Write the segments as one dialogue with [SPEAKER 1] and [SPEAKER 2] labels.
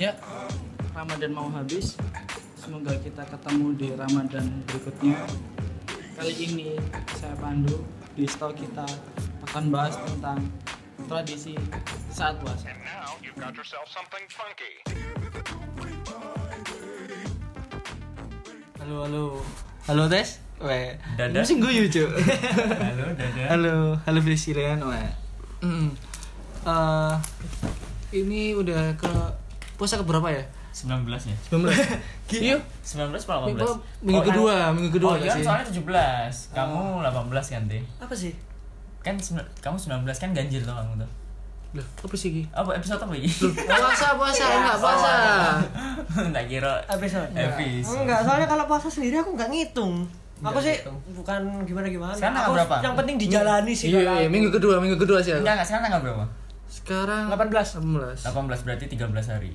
[SPEAKER 1] Ya, Ramadan mau habis. Semoga kita ketemu di Ramadan berikutnya. Kali ini saya Pandu di store kita akan bahas tentang tradisi saat puasa.
[SPEAKER 2] Now you've got yourself something funky.
[SPEAKER 3] Halo, halo. Halo, Tes. Weh.
[SPEAKER 4] Dadah.
[SPEAKER 3] Ini sih guyu, Cuk.
[SPEAKER 4] Halo, dadah.
[SPEAKER 3] halo, halo Priscilian. Weh. Mm. Eh, ini udah ke puasa ke berapa ya?
[SPEAKER 4] 19 ya?
[SPEAKER 3] 19. Iya.
[SPEAKER 4] 19 apa 18?
[SPEAKER 3] Minggu- minggu kedua,
[SPEAKER 4] kan-
[SPEAKER 3] minggu kedua
[SPEAKER 4] Oh, iya
[SPEAKER 3] gak sih? Ah.
[SPEAKER 4] soalnya 17. Kamu 18 kan, Teh?
[SPEAKER 3] Apa sih?
[SPEAKER 4] Kan sembilan- kamu 19 kan ganjil tuh kamu tuh.
[SPEAKER 3] Loh, apa sih Ki?
[SPEAKER 4] Apa episode apa ini?
[SPEAKER 3] Puasa, puasa,
[SPEAKER 4] Iya,
[SPEAKER 3] enggak puasa.
[SPEAKER 4] Enggak kira
[SPEAKER 5] episode
[SPEAKER 4] episode.
[SPEAKER 5] enggak soalnya kalau puasa sendiri aku nggak ngitung aku sih
[SPEAKER 4] ngitung.
[SPEAKER 5] bukan gimana gimana
[SPEAKER 4] Sekarang
[SPEAKER 5] aku
[SPEAKER 4] tanggal berapa?
[SPEAKER 5] yang penting dijalani sih
[SPEAKER 3] Iya,
[SPEAKER 5] kalau
[SPEAKER 3] iya,
[SPEAKER 5] aku.
[SPEAKER 3] minggu kedua, minggu kedua sih
[SPEAKER 4] Enggak,
[SPEAKER 3] aku.
[SPEAKER 4] enggak sekarang tanggal berapa?
[SPEAKER 3] Sekarang
[SPEAKER 5] 18.
[SPEAKER 4] 18
[SPEAKER 3] 18.
[SPEAKER 4] berarti 13 hari.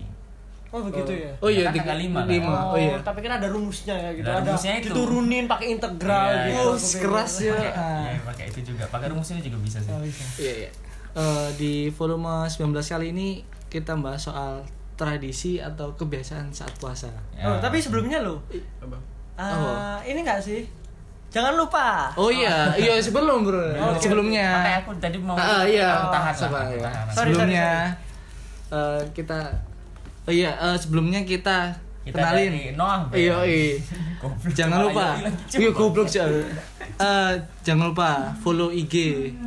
[SPEAKER 5] oh begitu ya
[SPEAKER 3] Oh iya,
[SPEAKER 4] Kan
[SPEAKER 3] tiga-
[SPEAKER 4] tanggal lima, kan?
[SPEAKER 3] lima.
[SPEAKER 5] Oh,
[SPEAKER 3] Oh iya.
[SPEAKER 5] tapi kan ada rumusnya ya gitu.
[SPEAKER 4] Ada
[SPEAKER 5] Ada,
[SPEAKER 4] rumusnya itu.
[SPEAKER 5] diturunin pakai integral
[SPEAKER 4] Iya,
[SPEAKER 5] gitu.
[SPEAKER 4] iya.
[SPEAKER 5] Aku
[SPEAKER 3] Us,
[SPEAKER 5] pengen-
[SPEAKER 3] keras ya.
[SPEAKER 4] Pakai
[SPEAKER 3] Ah.
[SPEAKER 4] iya, pakai itu juga. Pakai rumus ini juga bisa sih.
[SPEAKER 5] Nggak bisa.
[SPEAKER 3] Iya, iya. Eh, di volume 19 kali ini kita bahas soal tradisi atau kebiasaan saat puasa.
[SPEAKER 4] Ya.
[SPEAKER 5] Oh, tapi sebelumnya lo,
[SPEAKER 3] Oh.
[SPEAKER 5] ini enggak sih? Jangan lupa.
[SPEAKER 3] Oh iya, iya sebelum bro,
[SPEAKER 4] Belum. Makanya
[SPEAKER 3] sebelumnya,
[SPEAKER 4] aku tadi mau
[SPEAKER 3] Ah, ah, iya.
[SPEAKER 4] aku tahan lah,
[SPEAKER 3] Sabar,
[SPEAKER 4] aku
[SPEAKER 3] iya.
[SPEAKER 4] tahan.
[SPEAKER 5] Sorry,
[SPEAKER 3] sebelumnya eh, kita, oh iya eh, sebelumnya kita,
[SPEAKER 4] Kita
[SPEAKER 3] kenalin,
[SPEAKER 4] dari Noah, Bang.
[SPEAKER 3] iya iya.
[SPEAKER 4] Goblok,
[SPEAKER 3] jangan
[SPEAKER 4] coba
[SPEAKER 3] lupa,
[SPEAKER 4] ayo lagi, coba.
[SPEAKER 3] iya goblok Cok. Eh, jangan lupa follow IG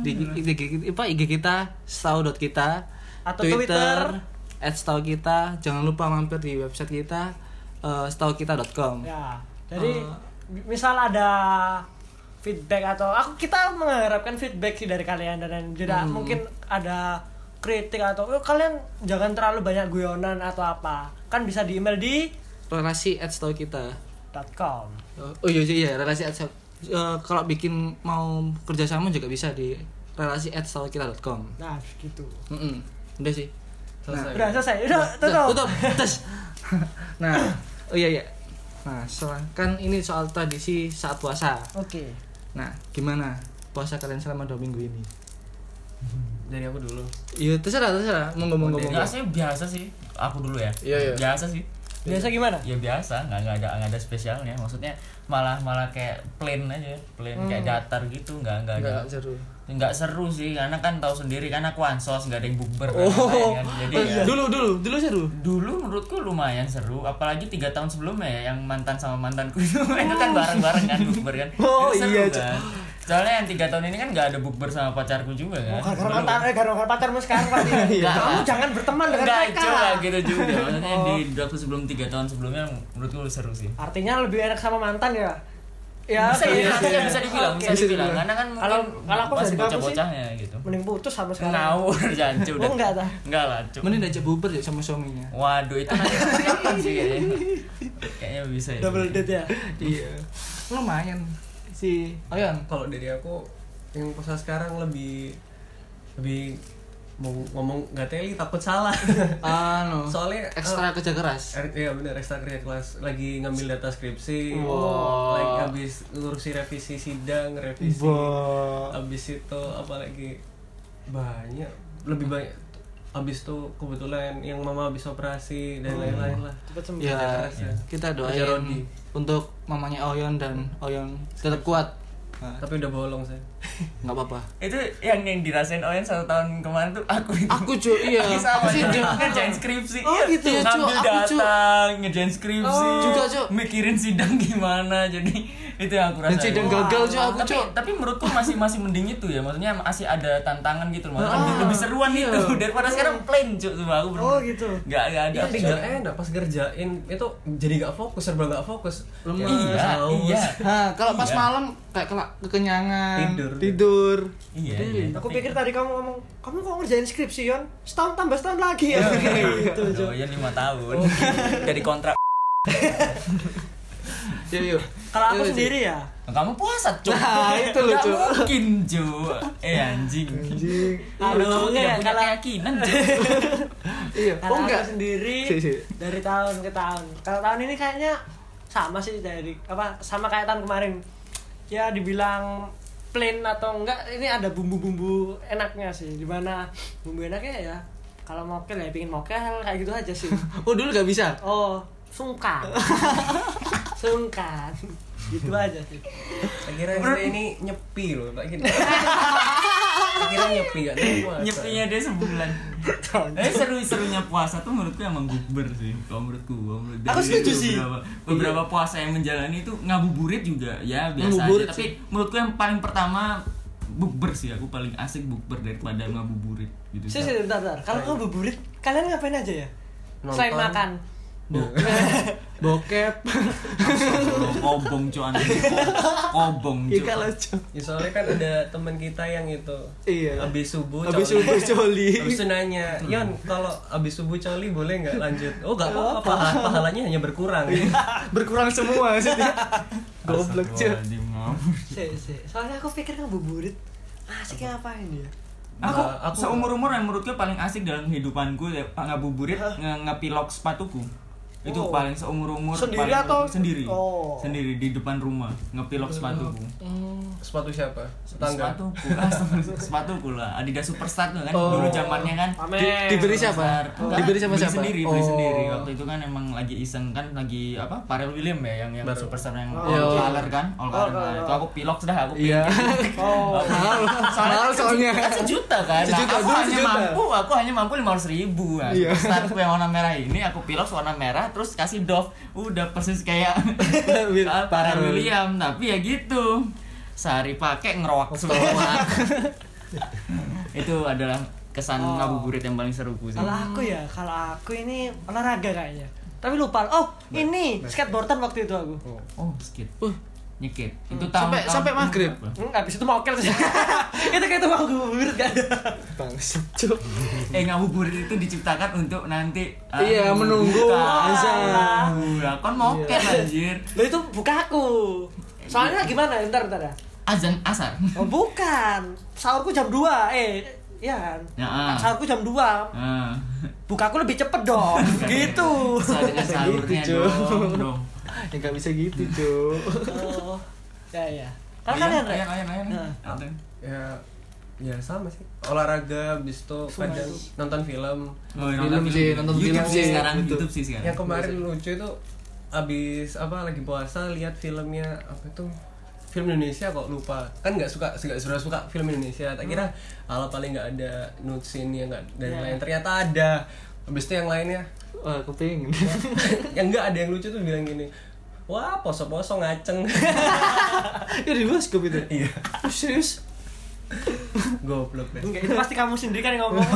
[SPEAKER 3] di, di- di- apa IG kita, stau.kita
[SPEAKER 5] Atau Twitter.
[SPEAKER 3] @stau kita, jangan lupa mampir di website kita, eh, staukita.com.
[SPEAKER 5] Ya,
[SPEAKER 3] Eh.
[SPEAKER 5] jadi mi- misal ada feedback atau aku kita mengharapkan feedback sih dari kalian dan tidak mungkin ada kritik atau "Oh, kalian jangan terlalu banyak guyonan atau apa kan bisa di email di
[SPEAKER 3] Relasi @staukita.
[SPEAKER 5] .com
[SPEAKER 3] Oh iya iya, iya relasi ads eh, kalau bikin mau kerjasama juga bisa di relasi kita.com.
[SPEAKER 5] nah gitu
[SPEAKER 3] Mm-mm. Udah sih. Nah,
[SPEAKER 5] udah selesai udah
[SPEAKER 3] udah,
[SPEAKER 5] tutup
[SPEAKER 3] tutup. Tes. nah, oh iya iya. Nah, soal- kan ini soal tradisi saat puasa.
[SPEAKER 5] oke
[SPEAKER 3] Nah, gimana puasa kalian selama dua minggu ini?
[SPEAKER 6] dari aku dulu
[SPEAKER 3] Iya, terserah terserah. Monggo monggo monggo.
[SPEAKER 4] Enggak sih biasa sih. Aku dulu ya.
[SPEAKER 3] Iya, iya.
[SPEAKER 4] Biasa sih.
[SPEAKER 5] biasa gimana
[SPEAKER 4] ya biasa nggak nggak ada nggak ada spesialnya maksudnya malah malah kayak plain aja plain
[SPEAKER 3] Hmm.
[SPEAKER 4] kayak datar gitu nggak nggak ada
[SPEAKER 3] Enggak seru.
[SPEAKER 4] nggak seru sih karena kan tahu sendiri karena aku ansos nggak ada yang bukber kan,
[SPEAKER 3] Oh,
[SPEAKER 4] kan. jadi
[SPEAKER 3] eh,
[SPEAKER 4] ya,
[SPEAKER 3] dulu dulu dulu seru.
[SPEAKER 4] dulu menurutku lumayan seru apalagi tiga tahun sebelumnya ya yang mantan sama mantanku itu itu kan bareng bareng kan bukber kan
[SPEAKER 3] Oh,
[SPEAKER 4] Itu seru
[SPEAKER 3] iya,
[SPEAKER 4] kan soalnya yang tiga tahun ini kan nggak ada bukber sama pacarku juga kan
[SPEAKER 3] Oh,
[SPEAKER 5] gara-gara
[SPEAKER 4] Belum.
[SPEAKER 5] mantan eh gara-gara pacarmu sekarang pasti kamu jangan berteman dengan
[SPEAKER 4] Nggak, coba
[SPEAKER 5] mereka
[SPEAKER 4] gitu juga maksudnya di
[SPEAKER 3] Oh.
[SPEAKER 4] waktu sebelum tiga tahun sebelumnya menurutku seru sih
[SPEAKER 5] artinya lebih enak sama mantan ya ya
[SPEAKER 4] bisa iya, dibilang, bisa,
[SPEAKER 5] oke.
[SPEAKER 4] bisa dibilang,
[SPEAKER 5] Oke.
[SPEAKER 4] bisa dibilang. Karena kan mungkin
[SPEAKER 5] Kalau- kalau aku
[SPEAKER 4] masih
[SPEAKER 5] dari kamu sih-
[SPEAKER 4] bocah-bocahnya gitu.
[SPEAKER 3] Nah.
[SPEAKER 5] mending putus sama sekarang
[SPEAKER 4] Ngawur jancu
[SPEAKER 3] Oh,
[SPEAKER 4] udah.
[SPEAKER 5] enggak, dah.
[SPEAKER 4] Enggak lah, Cuk.
[SPEAKER 3] Mending diajak buber ya sama suaminya.
[SPEAKER 4] Waduh, itu nanti kapan sih kayaknya? Kayaknya bisa ya.
[SPEAKER 5] double date ya
[SPEAKER 3] iya. Lumayan si Ayan.
[SPEAKER 6] kalau dari aku yang puasa sekarang lebih lebih mau ngomong nggak teli takut salah
[SPEAKER 3] Anu.
[SPEAKER 6] soalnya eh,
[SPEAKER 3] ekstra kerja keras.
[SPEAKER 6] er- iya bener ekstra kerja kelas lagi ngambil data skripsi
[SPEAKER 3] Wow.
[SPEAKER 6] lagi habis ngurusi revisi sidang revisi habis itu apalagi banyak lebih banyak habis itu kebetulan yang mama habis operasi dan lain-lain lah
[SPEAKER 5] cepet sembuh
[SPEAKER 3] Ya,
[SPEAKER 6] Kerja keras,
[SPEAKER 3] kita
[SPEAKER 6] Kerja
[SPEAKER 3] doain
[SPEAKER 6] Rodi.
[SPEAKER 3] untuk mamanya Oyon dan Oyon tetap kuat. Nah,
[SPEAKER 6] tapi udah bolong saya
[SPEAKER 3] Nggak apa-apa.
[SPEAKER 4] Itu yang yang dirasain Oyen satu tahun kemarin tuh aku itu.
[SPEAKER 3] Aku cuy, iya.
[SPEAKER 4] Aku sama
[SPEAKER 3] Sih,
[SPEAKER 4] Cuk. Kan
[SPEAKER 3] dia-
[SPEAKER 4] ngerjain skripsi.
[SPEAKER 3] Oh, gitu. Iya, Cuk.
[SPEAKER 4] Ngambil
[SPEAKER 3] Aku, Cuk.
[SPEAKER 4] data, ngerjain skripsi.
[SPEAKER 3] Oh. Juga, Cuk.
[SPEAKER 4] Mikirin sidang gimana. Jadi itu yang aku rasain.
[SPEAKER 3] Dan sidang gagal cuy aku
[SPEAKER 4] tapi
[SPEAKER 3] cuy.
[SPEAKER 4] tapi menurutku masih masih mending itu ya maksudnya masih ada tantangan gitu loh maksudnya lebih, lebih seruan itu daripada sekarang plain cuy cuma aku
[SPEAKER 5] Oh, gitu.
[SPEAKER 4] nggak nggak ada
[SPEAKER 6] Iya, tapi nggak enak pas ngerjain itu jadi nggak fokus serba nggak fokus
[SPEAKER 3] Lemes.
[SPEAKER 4] iya
[SPEAKER 6] haus.
[SPEAKER 4] iya
[SPEAKER 3] Nah, kalau pas
[SPEAKER 4] Iya.
[SPEAKER 3] malam kayak kelak kekenyangan,
[SPEAKER 6] Tidur.
[SPEAKER 3] tidur.
[SPEAKER 4] iya, iya.
[SPEAKER 5] Aku pikir tadi kamu ngomong, kamu kok ngerjain skripsi, Yon? Setahun tambah setahun lagi ya? gitu,
[SPEAKER 4] Oh,
[SPEAKER 5] Jo.
[SPEAKER 4] iya lima tahun dari kontrak
[SPEAKER 3] Yuk, yuk. Yuk, Iya,
[SPEAKER 5] Kalau aku
[SPEAKER 3] Cuk.
[SPEAKER 5] sendiri ya,
[SPEAKER 4] kamu puasa cuy
[SPEAKER 3] Nah, itu loh,
[SPEAKER 4] Nggak
[SPEAKER 3] Cuk.
[SPEAKER 4] mungkin cuy eh anjing
[SPEAKER 5] Aduh,
[SPEAKER 4] kamu
[SPEAKER 5] iya,
[SPEAKER 4] tidak punya
[SPEAKER 5] kalau-
[SPEAKER 4] keyakinan cuy
[SPEAKER 3] Iya.
[SPEAKER 5] kalau
[SPEAKER 3] Oh enggak.
[SPEAKER 5] aku sendiri
[SPEAKER 3] Si, si.
[SPEAKER 5] dari tahun ke tahun. Kalau tahun ini kayaknya sama sih dari apa sama kayak tahun kemarin. Ya dibilang plain atau enggak, ini ada bumbu-bumbu enaknya sih. Dimana bumbu enaknya ya kalau mokel ya pingin mokel kayak gitu aja sih
[SPEAKER 3] Oh dulu gak bisa.
[SPEAKER 5] oh sungkan sungkan gitu aja sih
[SPEAKER 6] Saya kira istri ini nyepi loh, tak kira. Saya kira nyepi gak tahu puasa.
[SPEAKER 4] nyepinya dia sebulan eh seru serunya puasa tuh menurutku emang guber sih kalau menurutku kalau menurut
[SPEAKER 3] Aku
[SPEAKER 4] Dewi
[SPEAKER 3] setuju
[SPEAKER 4] itu
[SPEAKER 3] sih. Iya.
[SPEAKER 4] beberapa, beberapa puasa yang menjalani itu ngabuburit juga ya biasa
[SPEAKER 3] Ngabuburit
[SPEAKER 4] aja tapi menurutku yang paling pertama bukber sih aku paling asik bukber daripada ngabuburit gitu
[SPEAKER 5] sih sih bentar bentar kalau kamu buburit kalian ngapain aja ya
[SPEAKER 6] Nonton.
[SPEAKER 5] selain makan
[SPEAKER 3] Bokep.
[SPEAKER 4] kobong cuan kobong
[SPEAKER 3] Iya
[SPEAKER 4] cuan
[SPEAKER 3] kalau cowok.
[SPEAKER 6] Ya, soalnya kan ada teman kita yang itu.
[SPEAKER 3] Iya.
[SPEAKER 6] Abis subuh.
[SPEAKER 3] Habis
[SPEAKER 6] coli.
[SPEAKER 3] subuh coli.
[SPEAKER 6] Habis itu nanya, Yon, kalau abis subuh coli boleh nggak lanjut? Oh nggak apa-apa, pahala- pahalanya hanya berkurang.
[SPEAKER 3] Berkurang semua sih. dia. Goblok cuy.
[SPEAKER 4] Astagfirullahaladzim, ngabur.
[SPEAKER 5] sih sih soalnya aku pikir kamu buburit asik ngapain ya
[SPEAKER 4] Aku,
[SPEAKER 6] Nah, aku-
[SPEAKER 4] seumur umur yang menurutku paling asik dalam kehidupanku ya Pak ngabuburit nge ngepilok sepatuku. Itu
[SPEAKER 5] Oh.
[SPEAKER 4] paling seumur umur
[SPEAKER 5] Sendiri
[SPEAKER 4] paling-
[SPEAKER 5] atau-
[SPEAKER 4] sendiri.
[SPEAKER 5] Oh.
[SPEAKER 4] Sendiri di depan rumah ngepilok sepatuku.
[SPEAKER 6] Sepatu siapa? Tetangga.
[SPEAKER 4] Sepatuku. Ah, sepatu- sepatuku lah. Adidas Superstar tuh kan
[SPEAKER 6] Oh.
[SPEAKER 4] dulu zamannya kan.
[SPEAKER 5] Pamer.
[SPEAKER 3] Diberi siapa?
[SPEAKER 4] Superstar. Enggak,
[SPEAKER 3] Diberi sama siapa?
[SPEAKER 4] Beli sendiri, beli
[SPEAKER 3] Oh.
[SPEAKER 4] sendiri. Waktu itu kan emang lagi iseng kan lagi apa? Pharrell William ya yang yang
[SPEAKER 6] Baru.
[SPEAKER 4] superstar yang
[SPEAKER 5] Oh.
[SPEAKER 4] all color kan, all color.
[SPEAKER 5] All color.
[SPEAKER 4] Itu aku pilok sudah aku pilok.
[SPEAKER 3] Iya.
[SPEAKER 5] oh
[SPEAKER 3] Mahal. Mahal soalnya.
[SPEAKER 4] kan sejuta kan
[SPEAKER 3] Sejuta,
[SPEAKER 4] nah, aku
[SPEAKER 3] dulu
[SPEAKER 4] hanya
[SPEAKER 3] sejuta.
[SPEAKER 4] mampu aku hanya mampu lima ratus ribu kan
[SPEAKER 3] Iya.
[SPEAKER 4] Startup yang warna merah ini aku pilok warna merah terus kasih Dove udah persis kayak
[SPEAKER 3] Wil-
[SPEAKER 4] Ah, para
[SPEAKER 3] Parul.
[SPEAKER 4] William tapi ya gitu sehari pakai ngerowak semua itu adalah kesan
[SPEAKER 5] Oh.
[SPEAKER 4] ngabuburit yang paling seruku sih
[SPEAKER 5] Kalau aku ya, kalau aku ini olahraga kayaknya. Tapi lupa. Oh, ini skateboardan waktu itu aku.
[SPEAKER 4] oh skit
[SPEAKER 3] Uh,
[SPEAKER 4] nyekit itu tahun
[SPEAKER 3] Sampai-
[SPEAKER 4] tahun-
[SPEAKER 3] sampai maghrib.
[SPEAKER 5] Hmm, habis itu mokel sih. itu kayak itu mau guburit kan.
[SPEAKER 3] bangsat cuy.
[SPEAKER 4] eh ngabuburit itu diciptakan untuk nanti ah,
[SPEAKER 3] Iya, menunggu Iya. azan.
[SPEAKER 4] Wah, kon mau anjir
[SPEAKER 5] Loh itu buka aku. Soalnya gimana? Ntar ntar ya.
[SPEAKER 4] azan asar
[SPEAKER 5] Oh, bukan. Sahurku jam 2. Eh, iya kan.
[SPEAKER 4] Ya, ah.
[SPEAKER 5] Sahurku jam 2.
[SPEAKER 4] Ah.
[SPEAKER 5] Bukaku lebih cepet dong. gitu.
[SPEAKER 4] Sesuai dengan sahurnya
[SPEAKER 3] Gitu,
[SPEAKER 4] dong, dong.
[SPEAKER 3] Ya nggak bisa gitu cuy.
[SPEAKER 5] Oh. Ya ya. Kalau kalian Rek?
[SPEAKER 4] Ayan, ayan, ayan.
[SPEAKER 5] Nah.
[SPEAKER 4] Ada.
[SPEAKER 6] Ya, ya sama sih. Olahraga, abis itu kadang nonton film.
[SPEAKER 4] Oh, nonton
[SPEAKER 3] Film sih, nonton
[SPEAKER 4] YouTube
[SPEAKER 3] film
[SPEAKER 4] sih
[SPEAKER 3] sih,
[SPEAKER 4] sekarang,
[SPEAKER 3] gitu.
[SPEAKER 4] YouTube sih sekarang.
[SPEAKER 6] yang kemarin lucu itu abis apa lagi puasa lihat filmnya apa itu film Indonesia kok lupa kan nggak suka nggak suka suka film Indonesia tak kira
[SPEAKER 3] Hmm.
[SPEAKER 6] ala paling nggak ada nude scene yang nggak dan
[SPEAKER 3] Ya.
[SPEAKER 6] lain ternyata ada abis itu yang lainnya
[SPEAKER 3] Wah, aku pengen.
[SPEAKER 6] yang nggak ada yang lucu tuh bilang gini wah poso poso ngaceng
[SPEAKER 3] Ya di bioskop itu.
[SPEAKER 6] iya
[SPEAKER 3] Oh, serius?
[SPEAKER 6] goblok deh
[SPEAKER 5] Enggak, itu pasti kamu sendiri kan yang ngomong.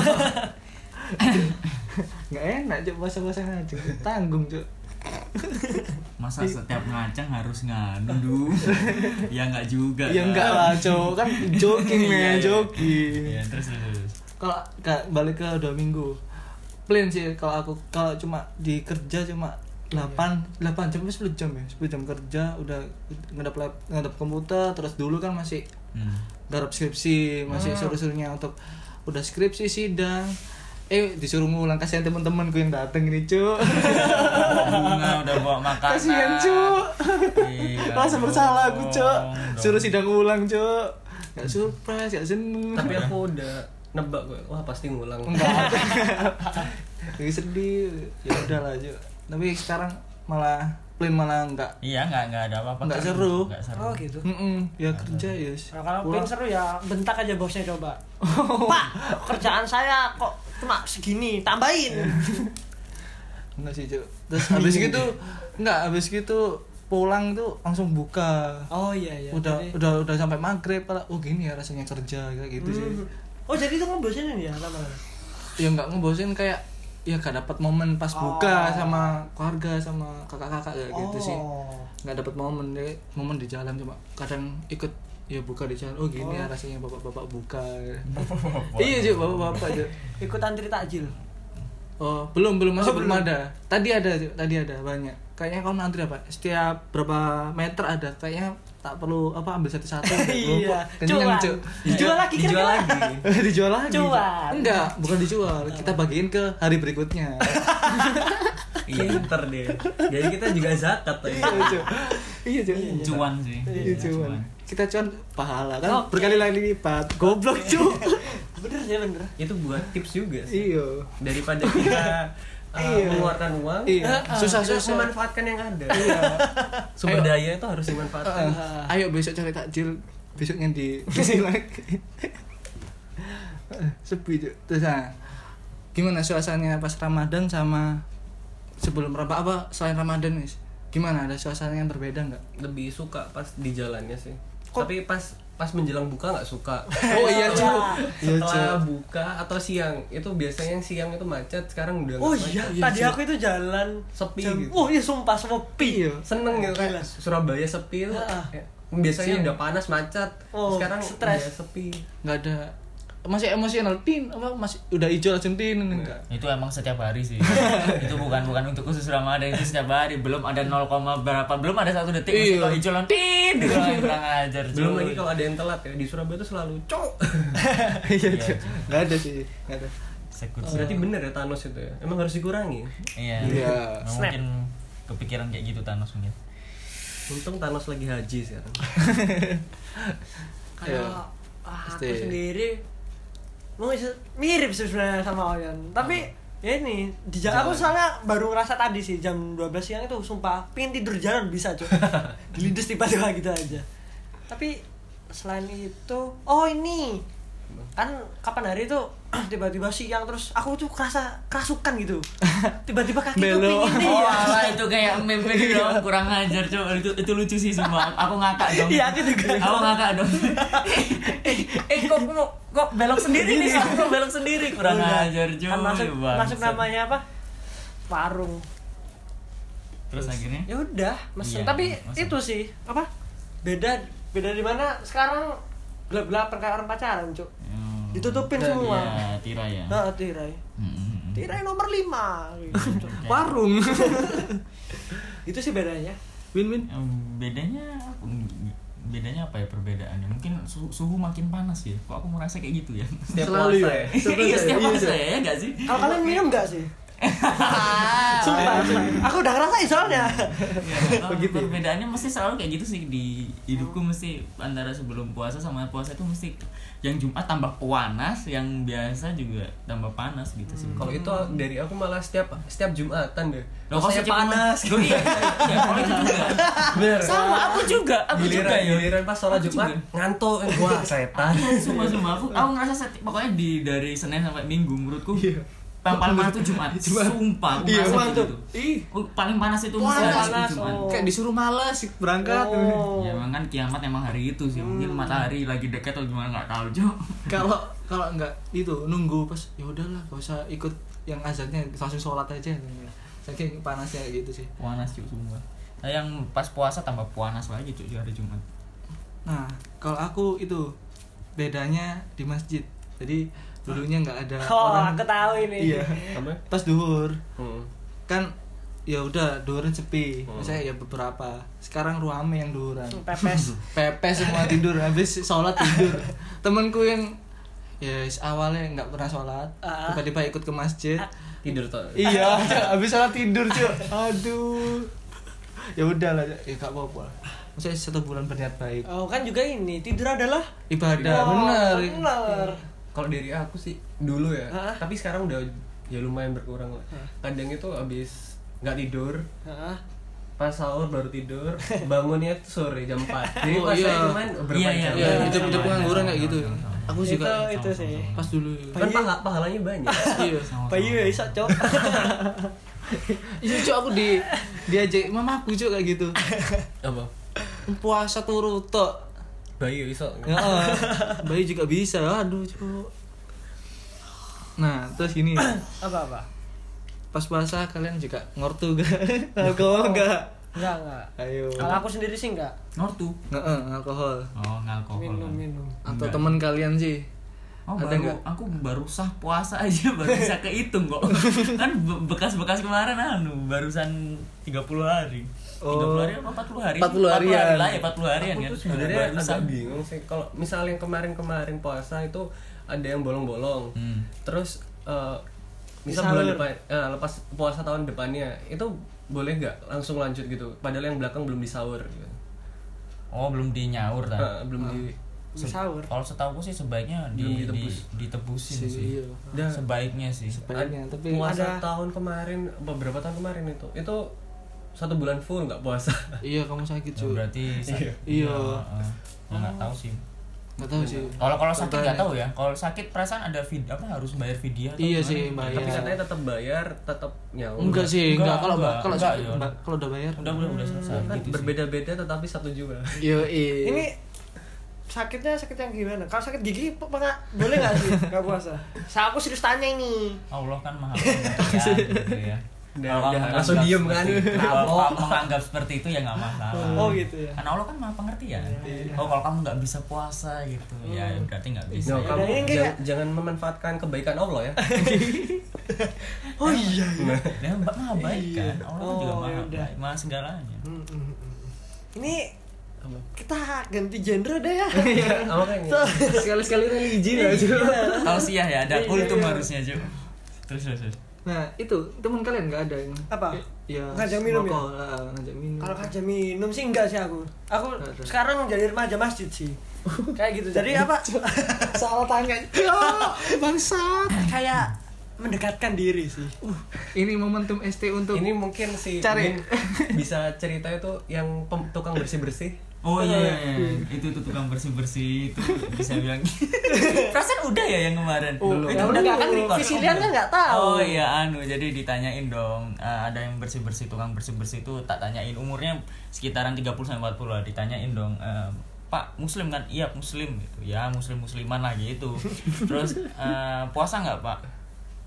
[SPEAKER 3] Nggak enak cuy bahasa-bahasa ngaco. Tanggung cuy.
[SPEAKER 4] Masa setiap ngaceng harus ngandu? ya enggak juga.
[SPEAKER 3] Ya
[SPEAKER 4] kan?
[SPEAKER 3] enggak lah cuy. Kan joking
[SPEAKER 4] Iya,
[SPEAKER 3] men,
[SPEAKER 4] iya.
[SPEAKER 3] joking.
[SPEAKER 4] Iya, terus terus.
[SPEAKER 3] kalau ka- balik ke dua minggu plan sih kalau aku kalau cuma di kerja cuma
[SPEAKER 4] Iya.
[SPEAKER 3] 8 8 jam 10 jam ya 10 jam kerja udah ngedap lap, ngedap komputer terus dulu kan masih
[SPEAKER 4] Hmm.
[SPEAKER 3] garap skripsi masih suruh-suruhnya untuk udah skripsi sidang eh disuruh ngulang kasihan teman-temanku yang dateng ini cu
[SPEAKER 4] Bunga udah bawa makanan.
[SPEAKER 3] kasihan cu
[SPEAKER 4] Iya,
[SPEAKER 3] rasa
[SPEAKER 4] dong,
[SPEAKER 3] bersalah aku cu
[SPEAKER 4] dong.
[SPEAKER 3] suruh sidang ulang cu gak surprise gak seneng
[SPEAKER 6] tapi aku udah nebak gue wah pasti ngulang
[SPEAKER 3] enggak lagi sedih ya udah lah aja tapi sekarang malah plan malah enggak
[SPEAKER 4] Iya, enggak enggak ada apa-apa.
[SPEAKER 3] Enggak
[SPEAKER 4] kan?
[SPEAKER 3] seru.
[SPEAKER 4] Enggak seru.
[SPEAKER 5] oh, gitu.
[SPEAKER 3] Mm-mm, ya kerja ya
[SPEAKER 5] Nah, kalau pengen seru ya bentak aja bosnya coba. Pak, kerjaan saya kok cuma segini, tambahin.
[SPEAKER 3] enggak sih Cuk. terus habis gitu enggak habis gitu pulang tuh langsung buka
[SPEAKER 5] Oh iya iya.
[SPEAKER 3] udah
[SPEAKER 5] Jadi-
[SPEAKER 3] udah udah sampai maghrib lah oh gini ya rasanya kerja kayak gitu sih
[SPEAKER 5] Hmm. Oh jadi itu ngebosenin ya lama-lama.
[SPEAKER 3] ya nggak ngebosin kayak ya gak dapat momen pas buka sama keluarga sama kakak-kakak kayak gitu sih
[SPEAKER 5] Oh.
[SPEAKER 3] nggak dapat momen deh momen di jalan cuma kadang ikut ya buka di jalan oh gini ya rasanya bapak-bapak buka iya cuy bapak-bapak cuy
[SPEAKER 5] Ikutan antri takjil.
[SPEAKER 3] oh belum belum masih belum, ada tadi ada cuy tadi ada banyak kayaknya kau nanti apa setiap berapa meter ada kayaknya tak perlu apa ambil satu-satu
[SPEAKER 5] iya.
[SPEAKER 3] kenyang
[SPEAKER 5] Cuan.
[SPEAKER 3] cuy
[SPEAKER 5] Dijual lagi
[SPEAKER 6] dijual
[SPEAKER 5] kira-kira.
[SPEAKER 6] lagi
[SPEAKER 3] dijual lagi Cuk.
[SPEAKER 5] Cuan.
[SPEAKER 3] enggak bukan dijual kita bagiin ke hari berikutnya
[SPEAKER 6] pinter deh jadi kita juga zakat tuh
[SPEAKER 3] Iya, Cuk. iya cuy
[SPEAKER 4] Cuan sih. Iya,
[SPEAKER 3] Iya, cuan. Kita cuan pahala kan berkali-kali lipat. Goblok, cu.
[SPEAKER 5] Bener
[SPEAKER 3] ya bener
[SPEAKER 6] itu buat tips juga sih
[SPEAKER 3] iya
[SPEAKER 6] daripada kita uh,
[SPEAKER 3] Iya.
[SPEAKER 6] mengeluarkan uang eh,
[SPEAKER 3] iya susah
[SPEAKER 6] kita
[SPEAKER 3] susah Iya.
[SPEAKER 6] memanfaatkan yang ada sumber
[SPEAKER 3] Ayo.
[SPEAKER 6] daya itu harus dimanfaatkan
[SPEAKER 3] Ah, ayo besok cari takjil besoknya di di lagi sepi Cuk. terus ah, gimana suasananya pas Ramadan sama sebelum Ramadan apa selain Ramadan Is? gimana ada suasana yang berbeda nggak
[SPEAKER 6] lebih suka pas di jalannya sih tapi pas pas menjelang buka nggak suka
[SPEAKER 3] oh iya cu iya cu
[SPEAKER 6] setelah buka atau siang itu biasanya yang siang itu macet sekarang udah nggak
[SPEAKER 5] Oh iya,
[SPEAKER 6] macet.
[SPEAKER 5] tadi aku itu jalan
[SPEAKER 6] Sepi
[SPEAKER 5] jam-
[SPEAKER 6] gitu.
[SPEAKER 5] Oh iya sumpah sepi.
[SPEAKER 3] Iya.
[SPEAKER 6] seneng gitu kayak Surabaya sepi itu
[SPEAKER 5] Ah.
[SPEAKER 6] kayak biasanya udah panas macet
[SPEAKER 5] Oh,
[SPEAKER 6] sekarang
[SPEAKER 5] stres.
[SPEAKER 6] udah sepi
[SPEAKER 3] nggak ada masih emosional tin apa masih udah hijau langsung tin enggak
[SPEAKER 4] itu emang setiap hari sih itu bukan bukan untuk khusus ramadan itu setiap hari belum ada 0, berapa belum ada satu detik masih
[SPEAKER 3] Iya.
[SPEAKER 4] kalau hijau lantin gitu kurang ajar
[SPEAKER 6] belum
[SPEAKER 4] cuy.
[SPEAKER 6] lagi kalau ada yang telat ya di Surabaya itu selalu cok
[SPEAKER 3] iya cu nggak ada sih nggak ada
[SPEAKER 4] Sekut sih.
[SPEAKER 6] berarti bener ya Thanos itu ya emang harus dikurangi
[SPEAKER 4] iya
[SPEAKER 3] Iya.
[SPEAKER 4] Emang mungkin kepikiran kayak gitu Thanos mungkin
[SPEAKER 6] untung Thanos lagi haji sekarang
[SPEAKER 3] Iya.
[SPEAKER 5] Kalau aku
[SPEAKER 3] Pasti.
[SPEAKER 5] sendiri mau se- mirip sih sebenarnya sama Oyon, tapi
[SPEAKER 3] Hmm.
[SPEAKER 5] ya ini di jalan aku soalnya baru ngerasa tadi sih jam 12 siang itu sumpah pengen tidur jalan bisa cuy dilindes tiba-tiba gitu aja tapi selain itu oh ini kan kapan hari itu tiba-tiba siang terus aku tuh kerasa kerasukan gitu tiba-tiba kaki tuh
[SPEAKER 3] Belok.
[SPEAKER 5] pingin
[SPEAKER 4] Oh,
[SPEAKER 5] iya.
[SPEAKER 4] alah, itu kayak meme gitu dong, kurang ajar coba itu, itu lucu sih semua. Aku ngakak dong.
[SPEAKER 5] Iya, aku juga.
[SPEAKER 4] Aku ngakak dong. eh, eh, kok kok- kok belok sendiri nih? Sam? Kok belok sendiri? Kurang
[SPEAKER 5] Udah.
[SPEAKER 4] ajar cuy.
[SPEAKER 5] Kan masuk
[SPEAKER 4] bangsat.
[SPEAKER 5] masuk namanya apa warung
[SPEAKER 4] Terus akhirnya?
[SPEAKER 5] ya udah
[SPEAKER 4] Iya,
[SPEAKER 5] mesen tapi
[SPEAKER 4] mesen.
[SPEAKER 5] itu sih apa beda beda di mana sekarang gelap-gelap perkara orang pacaran cuk
[SPEAKER 4] Hmm.
[SPEAKER 5] ditutupin
[SPEAKER 4] Iya,
[SPEAKER 5] semua
[SPEAKER 4] tirai ya.
[SPEAKER 5] nah tirai
[SPEAKER 4] Hmm.
[SPEAKER 5] tirai nomor lima gitu.
[SPEAKER 3] warung
[SPEAKER 5] itu sih bedanya
[SPEAKER 3] win win
[SPEAKER 4] Em, bedanya apa? bedanya apa ya perbedaannya mungkin su- suhu makin panas ya kok aku merasa kayak gitu ya
[SPEAKER 6] Setiap
[SPEAKER 3] selalu
[SPEAKER 6] puasa
[SPEAKER 3] ya
[SPEAKER 6] ya.
[SPEAKER 4] iya setiap
[SPEAKER 3] iya,
[SPEAKER 4] masa ya enggak sih
[SPEAKER 5] kalau kalian minum nggak sih sumpah
[SPEAKER 4] Iya.
[SPEAKER 5] sumpah. aku udah ngerasain soalnya
[SPEAKER 4] Oh,
[SPEAKER 3] Begitu ya?
[SPEAKER 4] perbedaannya mesti selalu kayak gitu sih di hidupku mesti antara sebelum puasa sama puasa itu mesti yang Jumat tambah panas, yang biasa juga tambah panas gitu sih.
[SPEAKER 6] kalau itu dari aku malah setiap setiap Jumatan deh
[SPEAKER 4] Loh, kok
[SPEAKER 6] Rasanya
[SPEAKER 4] setiap- Loh, iya, iya, kalau itu juga.
[SPEAKER 6] Bener.
[SPEAKER 4] Sama aku juga, aku juga
[SPEAKER 6] giliran
[SPEAKER 4] ya.
[SPEAKER 6] giliran pas sholat
[SPEAKER 4] Aku
[SPEAKER 6] Jumat
[SPEAKER 4] juga.
[SPEAKER 6] ngantuk eh, wah setan
[SPEAKER 4] Sumpah sumpah aku, aku ngerasa seti- pokoknya di dari Senin sampai Minggu menurutku yang paling panas itu Jumat. Sumpah aku ngerasa
[SPEAKER 3] Iya,
[SPEAKER 4] kayak
[SPEAKER 3] mantap.
[SPEAKER 4] gitu.
[SPEAKER 3] Ih,
[SPEAKER 4] Oh, paling panas itu mesti
[SPEAKER 5] Panas,
[SPEAKER 4] hari
[SPEAKER 5] panas,
[SPEAKER 4] Jumat.
[SPEAKER 5] oh.
[SPEAKER 3] kayak disuruh males berangkat.
[SPEAKER 5] Oh.
[SPEAKER 4] Ya emang kan kiamat emang hari itu sih. Mungkin matahari lagi dekat atau gimana nggak tahu, Cuk.
[SPEAKER 3] Kalau kalau enggak itu nunggu pas ya udahlah gak usah ikut yang azannya langsung sholat aja. Saking panasnya kayak gitu sih.
[SPEAKER 4] Puanas cuy semua. Nah, yang pas puasa tambah puanas lagi cuy hari Jumat.
[SPEAKER 3] Nah, kalau aku itu bedanya di masjid. Jadi dulunya nggak ada
[SPEAKER 5] oh
[SPEAKER 3] orang.
[SPEAKER 5] aku tahu ini
[SPEAKER 3] Iya.
[SPEAKER 6] Apa?
[SPEAKER 3] Pas duhur
[SPEAKER 6] Hmm.
[SPEAKER 3] kan ya udah duhurnya sepi.
[SPEAKER 6] Hmm.
[SPEAKER 3] Misalnya ya beberapa. Sekarang ruame yang duhuran.
[SPEAKER 5] Oh. pepes
[SPEAKER 3] Pepe semua tidur habis sholat tidur temanku yang ya yes, awalnya nggak pernah sholat
[SPEAKER 5] Ah.
[SPEAKER 3] tiba-tiba ikut ke masjid
[SPEAKER 6] tidur tuh
[SPEAKER 3] iya habis sholat tidur cuy aduh ya udahlah Cuk. ya nggak apa-apa lah. maksudnya satu bulan berniat baik
[SPEAKER 5] oh kan juga ini tidur adalah
[SPEAKER 3] ibadah Iya,
[SPEAKER 5] Oh,
[SPEAKER 3] bener
[SPEAKER 5] bener.
[SPEAKER 6] kalau dari aku sih dulu ya
[SPEAKER 5] Hah?
[SPEAKER 6] tapi sekarang udah ya lumayan berkurang lah kadang itu abis nggak tidur
[SPEAKER 5] Hah?
[SPEAKER 6] pas sahur baru tidur bangunnya tuh sore jam 4 jadi
[SPEAKER 3] Oh,
[SPEAKER 6] pas
[SPEAKER 3] iya.
[SPEAKER 6] saya cuman berapa
[SPEAKER 4] Iya,
[SPEAKER 6] jam
[SPEAKER 3] ya
[SPEAKER 4] Iya,
[SPEAKER 3] itu itu
[SPEAKER 4] sama,
[SPEAKER 3] pengangguran
[SPEAKER 4] sama,
[SPEAKER 3] kayak gitu
[SPEAKER 4] sama, sama.
[SPEAKER 3] aku
[SPEAKER 5] itu
[SPEAKER 3] juga
[SPEAKER 5] itu sih
[SPEAKER 3] pas dulu
[SPEAKER 6] kan pahala- pahalanya banyak
[SPEAKER 3] iya
[SPEAKER 5] bayu ya isak cok
[SPEAKER 3] itu cuy Iya, aku di diajak mamaku cuy kayak gitu
[SPEAKER 6] apa
[SPEAKER 3] puasa turu tok
[SPEAKER 6] bayi iso
[SPEAKER 3] Ya, bayi juga bisa. Aduh, Cuk. Nah, terus gini,
[SPEAKER 5] apa apa
[SPEAKER 3] pas puasa kalian juga ngortu gak? Alkohol gak?
[SPEAKER 5] enggak enggak
[SPEAKER 3] Ayo.
[SPEAKER 5] kalau aku sendiri sih enggak
[SPEAKER 4] Nortu.
[SPEAKER 3] Nge-eh, alkohol.
[SPEAKER 4] Oh, ngalkohol.
[SPEAKER 5] minum minum
[SPEAKER 3] Atau teman kalian sih?
[SPEAKER 4] Oh,
[SPEAKER 3] Ada
[SPEAKER 4] baru,
[SPEAKER 3] nggak?
[SPEAKER 4] aku baru sah puasa aja baru bisa kehitung kok. kan be- bekas-bekas kemarin anu barusan 30 hari.
[SPEAKER 3] Oh.
[SPEAKER 4] 30 hari apa 40 hari?
[SPEAKER 3] 40 harian.
[SPEAKER 4] lah ya, 40 harian
[SPEAKER 6] aku
[SPEAKER 4] ya.
[SPEAKER 6] tuh sebenarnya
[SPEAKER 4] Baru
[SPEAKER 6] agak
[SPEAKER 4] sah.
[SPEAKER 6] bingung sih kalau misalnya yang kemarin-kemarin puasa itu ada yang bolong-bolong
[SPEAKER 4] Hmm.
[SPEAKER 6] terus eh misal
[SPEAKER 5] Misal-
[SPEAKER 6] bulan depan eh, lepas puasa tahun depannya itu boleh nggak langsung lanjut gitu padahal yang belakang belum disaur gitu.
[SPEAKER 4] Oh, belum dinyaur
[SPEAKER 6] Eh,
[SPEAKER 4] tadi.
[SPEAKER 6] belum di
[SPEAKER 4] Se-
[SPEAKER 5] sahur
[SPEAKER 4] Kalau setahuku sih sebaiknya di,
[SPEAKER 6] Belum ditebus.
[SPEAKER 4] di- ditebusin
[SPEAKER 3] sih
[SPEAKER 4] sih.
[SPEAKER 3] iya
[SPEAKER 6] Dan
[SPEAKER 4] Sebaiknya sih.
[SPEAKER 3] Sebaiknya, Ah,
[SPEAKER 6] ad-
[SPEAKER 3] tapi-
[SPEAKER 6] puasa
[SPEAKER 5] Ada-
[SPEAKER 6] tahun kemarin beberapa tahun kemarin itu itu satu bulan full nggak puasa
[SPEAKER 3] iya kamu sakit
[SPEAKER 4] Nah,
[SPEAKER 3] cuy
[SPEAKER 4] berarti sa-
[SPEAKER 6] Iya.
[SPEAKER 3] Iya.
[SPEAKER 4] Heeh. Ya, nggak tahu sih.
[SPEAKER 3] nggak tahu sih
[SPEAKER 4] Kalau kalau sakit nggak
[SPEAKER 3] Contohnya.
[SPEAKER 4] tahu ya. Kalau sakit perasaan ada vid apa harus bayar video atau
[SPEAKER 3] Iya
[SPEAKER 4] gimana?
[SPEAKER 3] sih, bayar.
[SPEAKER 6] tapi
[SPEAKER 3] Iya.
[SPEAKER 6] katanya tetap bayar tetap nyawa
[SPEAKER 3] enggak
[SPEAKER 4] Enggak,
[SPEAKER 3] sih enggak kalau
[SPEAKER 4] enggak,
[SPEAKER 3] kalau
[SPEAKER 4] enggak,
[SPEAKER 3] sakit,
[SPEAKER 4] iya.
[SPEAKER 3] Mbak. kalau udah bayar
[SPEAKER 4] Udah udah udah selesai
[SPEAKER 6] kan
[SPEAKER 4] gitu sih.
[SPEAKER 6] berbeda-beda tetapi satu juga
[SPEAKER 3] yo iya.
[SPEAKER 5] ini sakitnya sakit yang gimana kalau sakit gigi pe- pernah boleh nggak sih nggak puasa saya aku serius tanya ini
[SPEAKER 4] Allah kan maha pengertian gitu ya.
[SPEAKER 6] Udah,
[SPEAKER 4] Kalau
[SPEAKER 6] udah,
[SPEAKER 4] menganggap
[SPEAKER 6] langsung diem kan.
[SPEAKER 4] seperti itu,
[SPEAKER 6] Nah,
[SPEAKER 4] Kalau
[SPEAKER 6] Allah.
[SPEAKER 4] kamu menganggap seperti itu ya nggak masalah.
[SPEAKER 5] oh gitu ya Iya,
[SPEAKER 4] Karena Allah kan maha pengertian. Oh kalau kamu nggak bisa puasa gitu, ya
[SPEAKER 5] Hmm.
[SPEAKER 4] berarti nggak bisa.
[SPEAKER 6] No,
[SPEAKER 4] ya.
[SPEAKER 6] kamu
[SPEAKER 5] Ini
[SPEAKER 6] jangan,
[SPEAKER 5] kayak-
[SPEAKER 6] jangan memanfaatkan kebaikan Allah ya.
[SPEAKER 5] oh iya
[SPEAKER 6] Nah,
[SPEAKER 4] Ya mbak maha baik kan, Allah kan juga
[SPEAKER 5] Oh, Hmm.
[SPEAKER 4] maha
[SPEAKER 5] yaudah.
[SPEAKER 4] baik, maha segalanya.
[SPEAKER 5] ini kita ganti genre deh ya
[SPEAKER 6] Iya, apa kayaknya?
[SPEAKER 3] sekali-sekali religi lah cuy
[SPEAKER 4] Tausiah ya, ada
[SPEAKER 5] Iya,
[SPEAKER 4] kultum
[SPEAKER 5] iya.
[SPEAKER 4] harusnya Ju. Terus terus terus.
[SPEAKER 3] nah itu teman kalian nggak ada yang
[SPEAKER 5] Apa?
[SPEAKER 3] ya
[SPEAKER 5] Ngajak minum ya?
[SPEAKER 3] merokok, ah, ngajak minum
[SPEAKER 5] kalau kerja minum sih enggak sih aku aku
[SPEAKER 3] Nggak ada.
[SPEAKER 5] sekarang jadi remaja masjid sih kayak gitu jadi apa
[SPEAKER 3] salah tanya bangsat
[SPEAKER 5] kayak mendekatkan diri sih
[SPEAKER 3] ini momentum ST untuk
[SPEAKER 6] Ini mungkin si
[SPEAKER 3] Cari.
[SPEAKER 6] Min bisa cerita itu yang pem- tukang bersih-bersih.
[SPEAKER 4] Oh iya, iya, iya. itu tuh tukang bersih bersih itu bisa bilang. Perasaan udah ya yang kemarin.
[SPEAKER 5] Oh,
[SPEAKER 4] itu udah
[SPEAKER 5] ya udah,
[SPEAKER 4] nggak akan record.
[SPEAKER 5] Visilian kan nggak tahu.
[SPEAKER 4] Oh iya anu jadi ditanyain dong eh, ada yang bersih bersih tukang bersih bersih itu tak tanyain umurnya sekitaran 30 sampai 40 lah ditanyain dong eh, Pak Muslim kan iya Muslim gitu ya Muslim Musliman lah gitu terus eh, puasa nggak Pak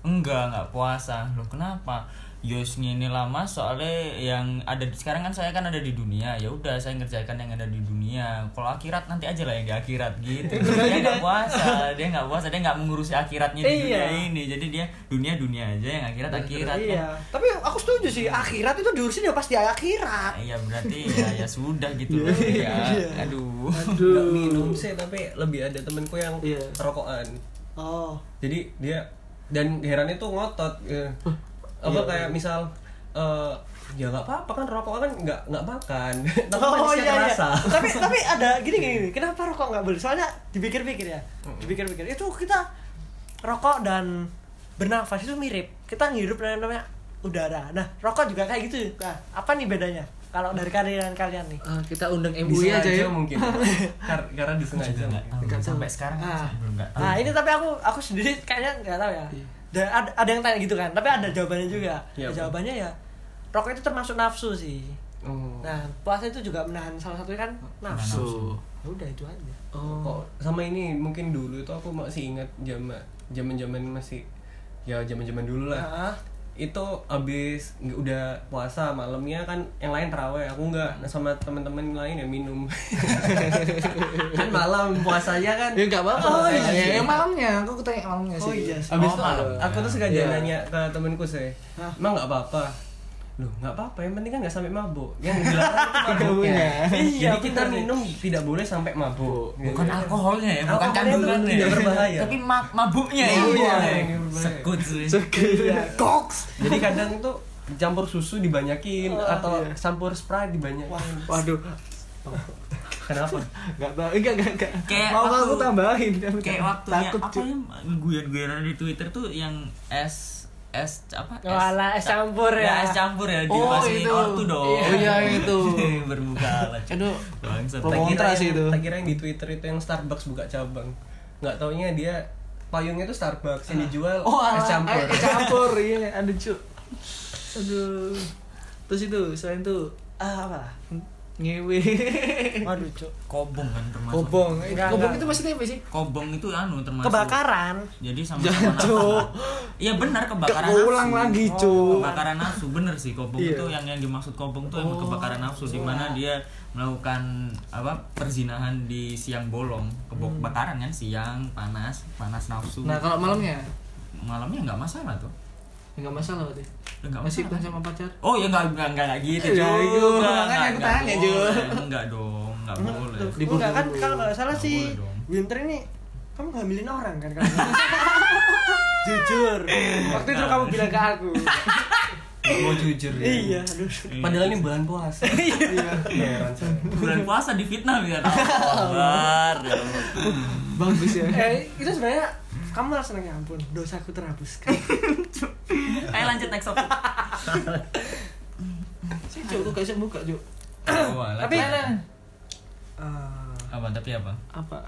[SPEAKER 4] enggak nggak puasa loh kenapa Yos ini lama soalnya yang ada di- sekarang kan saya kan ada di dunia ya udah saya ngerjakan yang ada di dunia kalau akhirat nanti aja lah yang di akhirat gitu dia nggak puasa dia nggak puasa dia nggak mengurusi akhiratnya di dunia
[SPEAKER 5] Iya.
[SPEAKER 4] ini jadi dia dunia dunia aja yang akhirat akhirat kan?
[SPEAKER 5] Iya, tapi aku setuju sih akhirat itu diurusin ya pasti akhirat.
[SPEAKER 4] iya berarti ya ya sudah gitu loh ya aduh
[SPEAKER 6] Nggak minum sih tapi lebih ada temenku yang
[SPEAKER 3] Iya.
[SPEAKER 6] rokokan.
[SPEAKER 5] Oh,
[SPEAKER 6] Jadi dia dan herannya tuh ngotot. ya. Apa kayak misal eh, ya nggak apa-apa kan rokokan kan nggak nggak makan. tapi
[SPEAKER 5] oh
[SPEAKER 6] manisnya kerasa.
[SPEAKER 5] tapi tapi ada gini gini, gini. kenapa rokok nggak boleh? Soalnya dipikir-pikir ya, dipikir-pikir itu kita rokok dan bernafas itu mirip. Kita ngirup yang namanya udara. Nah, rokok juga kayak gitu. Nah, apa nih bedanya? Kalau dari kalian kalian nih.
[SPEAKER 3] Ah, kita undang MUI
[SPEAKER 6] Disengaja
[SPEAKER 3] aja ya
[SPEAKER 6] mungkin. Kar- karena disengaja.
[SPEAKER 4] Nggak
[SPEAKER 6] mungkin.
[SPEAKER 4] tahu.
[SPEAKER 3] Nggak tahu.
[SPEAKER 4] sampai sekarang
[SPEAKER 5] Ah.
[SPEAKER 4] belum nggak tahu
[SPEAKER 5] Nah, ini tapi aku aku sendiri kayaknya nggak tahu ya. Dan ada, ada yang tanya gitu kan, tapi ada jawabannya juga. Ya,
[SPEAKER 6] Iya, apa?
[SPEAKER 5] jawabannya ya rokok itu termasuk nafsu sih.
[SPEAKER 6] Oh.
[SPEAKER 5] Nah, puasa itu juga menahan salah satunya kan nafsu.
[SPEAKER 3] So.
[SPEAKER 5] Ya udah itu aja.
[SPEAKER 6] kok sama ini mungkin dulu itu aku masih ingat zaman zaman zaman masih ya zaman zaman dulu lah
[SPEAKER 5] Nah,
[SPEAKER 6] itu abis nggak- udah puasa malamnya kan yang lain terawih aku nggak Nah, sama temen-temen lain ya minum kan malam puasanya kan
[SPEAKER 3] ya nggak apa-apa
[SPEAKER 6] Oh, iya.
[SPEAKER 3] Ya, yang malamnya aku tanya malamnya sih
[SPEAKER 5] Oh, iya sih.
[SPEAKER 6] abis
[SPEAKER 4] Oh,
[SPEAKER 6] itu
[SPEAKER 4] malam.
[SPEAKER 6] aku tuh sengaja
[SPEAKER 3] Iya.
[SPEAKER 6] nanya ke temenku sih
[SPEAKER 5] Hah?
[SPEAKER 6] emang nggak apa-apa loh nggak apa-apa yang penting kan nggak sampai mabuk yang dilarang itu mabuknya
[SPEAKER 3] Mabuknya.
[SPEAKER 6] jadi
[SPEAKER 5] Iya,
[SPEAKER 6] kita
[SPEAKER 5] bener sih.
[SPEAKER 6] minum tidak boleh sampai mabuk
[SPEAKER 4] bukan
[SPEAKER 6] Gitu.
[SPEAKER 4] alkoholnya ya bukan
[SPEAKER 6] Alkoholnya itu
[SPEAKER 4] kandungannya
[SPEAKER 6] tidak berbahaya.
[SPEAKER 4] tapi ma- mabuknya ya
[SPEAKER 6] Mabuknya
[SPEAKER 4] Boleh.
[SPEAKER 6] yang berbahaya.
[SPEAKER 4] sekut sih
[SPEAKER 5] iya. Koks.
[SPEAKER 6] Jadi kadang tuh campur susu dibanyakin atau campur Sprite dibanyakin.
[SPEAKER 3] waduh
[SPEAKER 6] Kenapa?
[SPEAKER 3] nggak tahu enggak enggak enggak
[SPEAKER 4] Kayak
[SPEAKER 3] mau
[SPEAKER 4] waktu-
[SPEAKER 3] aku tambahin
[SPEAKER 4] kayak waktunya
[SPEAKER 3] takut
[SPEAKER 4] apa
[SPEAKER 3] cuy
[SPEAKER 4] yang guyon-guyonan di Twitter tuh yang es es apa es
[SPEAKER 5] Wala es campur
[SPEAKER 4] ya
[SPEAKER 5] ya.
[SPEAKER 4] es campur ya
[SPEAKER 3] Oh,
[SPEAKER 4] dimasukin
[SPEAKER 3] itu.
[SPEAKER 4] ortu dong
[SPEAKER 3] Oh, iya, itu.
[SPEAKER 4] berbuka lah cuy.
[SPEAKER 3] aduh
[SPEAKER 4] Bangsat.
[SPEAKER 3] Promo-
[SPEAKER 6] Tak kira
[SPEAKER 3] Kontra sih
[SPEAKER 6] yang-
[SPEAKER 3] itu.
[SPEAKER 6] Tak kira yang di Twitter itu yang Starbucks buka cabang. Nggak taunya dia payungnya itu Starbucks yang dijual
[SPEAKER 3] Oh,
[SPEAKER 6] ah, es campur.
[SPEAKER 3] Eh, campur, iya, aduh cu. Aduh. Terus itu, selain itu
[SPEAKER 5] Ah, apa lah?
[SPEAKER 3] ngewe.
[SPEAKER 5] Waduh, Cuk.
[SPEAKER 4] kobong kan termasuk
[SPEAKER 3] Kobong. Eh,
[SPEAKER 5] Enggak,
[SPEAKER 3] Kobong
[SPEAKER 5] enggak.
[SPEAKER 3] itu maksudnya apa sih?
[SPEAKER 4] kobong itu anu termasuk
[SPEAKER 5] Kebakaran.
[SPEAKER 4] jadi sama
[SPEAKER 3] Jangan,
[SPEAKER 4] sama
[SPEAKER 3] Cuk.
[SPEAKER 4] iya benar kebakaran
[SPEAKER 3] Gak ulang
[SPEAKER 4] nafsu. Oh,
[SPEAKER 3] lagi, Cuk.
[SPEAKER 4] kebakaran nafsu bener sih kobong
[SPEAKER 3] Iya. Oh,
[SPEAKER 4] itu yang yang dimaksud kobong tuh emang kebakaran nafsu di mana dia melakukan apa perzinahan di siang bolong kebakaran kan siang panas panas nafsu
[SPEAKER 3] Hmm. Nah, kalau malamnya
[SPEAKER 4] malamnya nggak masalah tuh
[SPEAKER 3] enggak masalah berarti.
[SPEAKER 4] Ya, nggak
[SPEAKER 3] Masih
[SPEAKER 4] masalah.
[SPEAKER 3] bukan sama pacar.
[SPEAKER 4] Oh ya nggak nggak nggak, nggak gitu
[SPEAKER 3] Ya,
[SPEAKER 4] Ju. Nggak,
[SPEAKER 3] itu. Makanya
[SPEAKER 4] nggak,
[SPEAKER 3] aku
[SPEAKER 4] nggak
[SPEAKER 3] tanya, Ju.
[SPEAKER 4] boleh. Nggak dong nggak boleh.
[SPEAKER 3] Libur
[SPEAKER 5] Enggak kan
[SPEAKER 3] dulu.
[SPEAKER 5] kalau nggak salah
[SPEAKER 4] Nggak
[SPEAKER 5] sih
[SPEAKER 4] boleh dong.
[SPEAKER 5] Winter ini kamu ngambilin orang kan kamu. Jujur. Waktu itu kamu bilang ke aku.
[SPEAKER 6] mau jujur ya.
[SPEAKER 5] iya aduh
[SPEAKER 6] Padahal ini bulan puasa. iya.
[SPEAKER 4] bulan puasa di fitnah bisa tahu kabar ya Allah.
[SPEAKER 3] bagus ya
[SPEAKER 5] eh itu sebenarnya kamu malah seneng ya ampun dosaku terhapuskan
[SPEAKER 4] ayo lanjut next topic
[SPEAKER 3] sih cuk aku gak bisa buka cuk
[SPEAKER 4] Oh,
[SPEAKER 5] tapi
[SPEAKER 4] lanjut.
[SPEAKER 5] Eh,
[SPEAKER 4] apa tapi apa
[SPEAKER 3] apa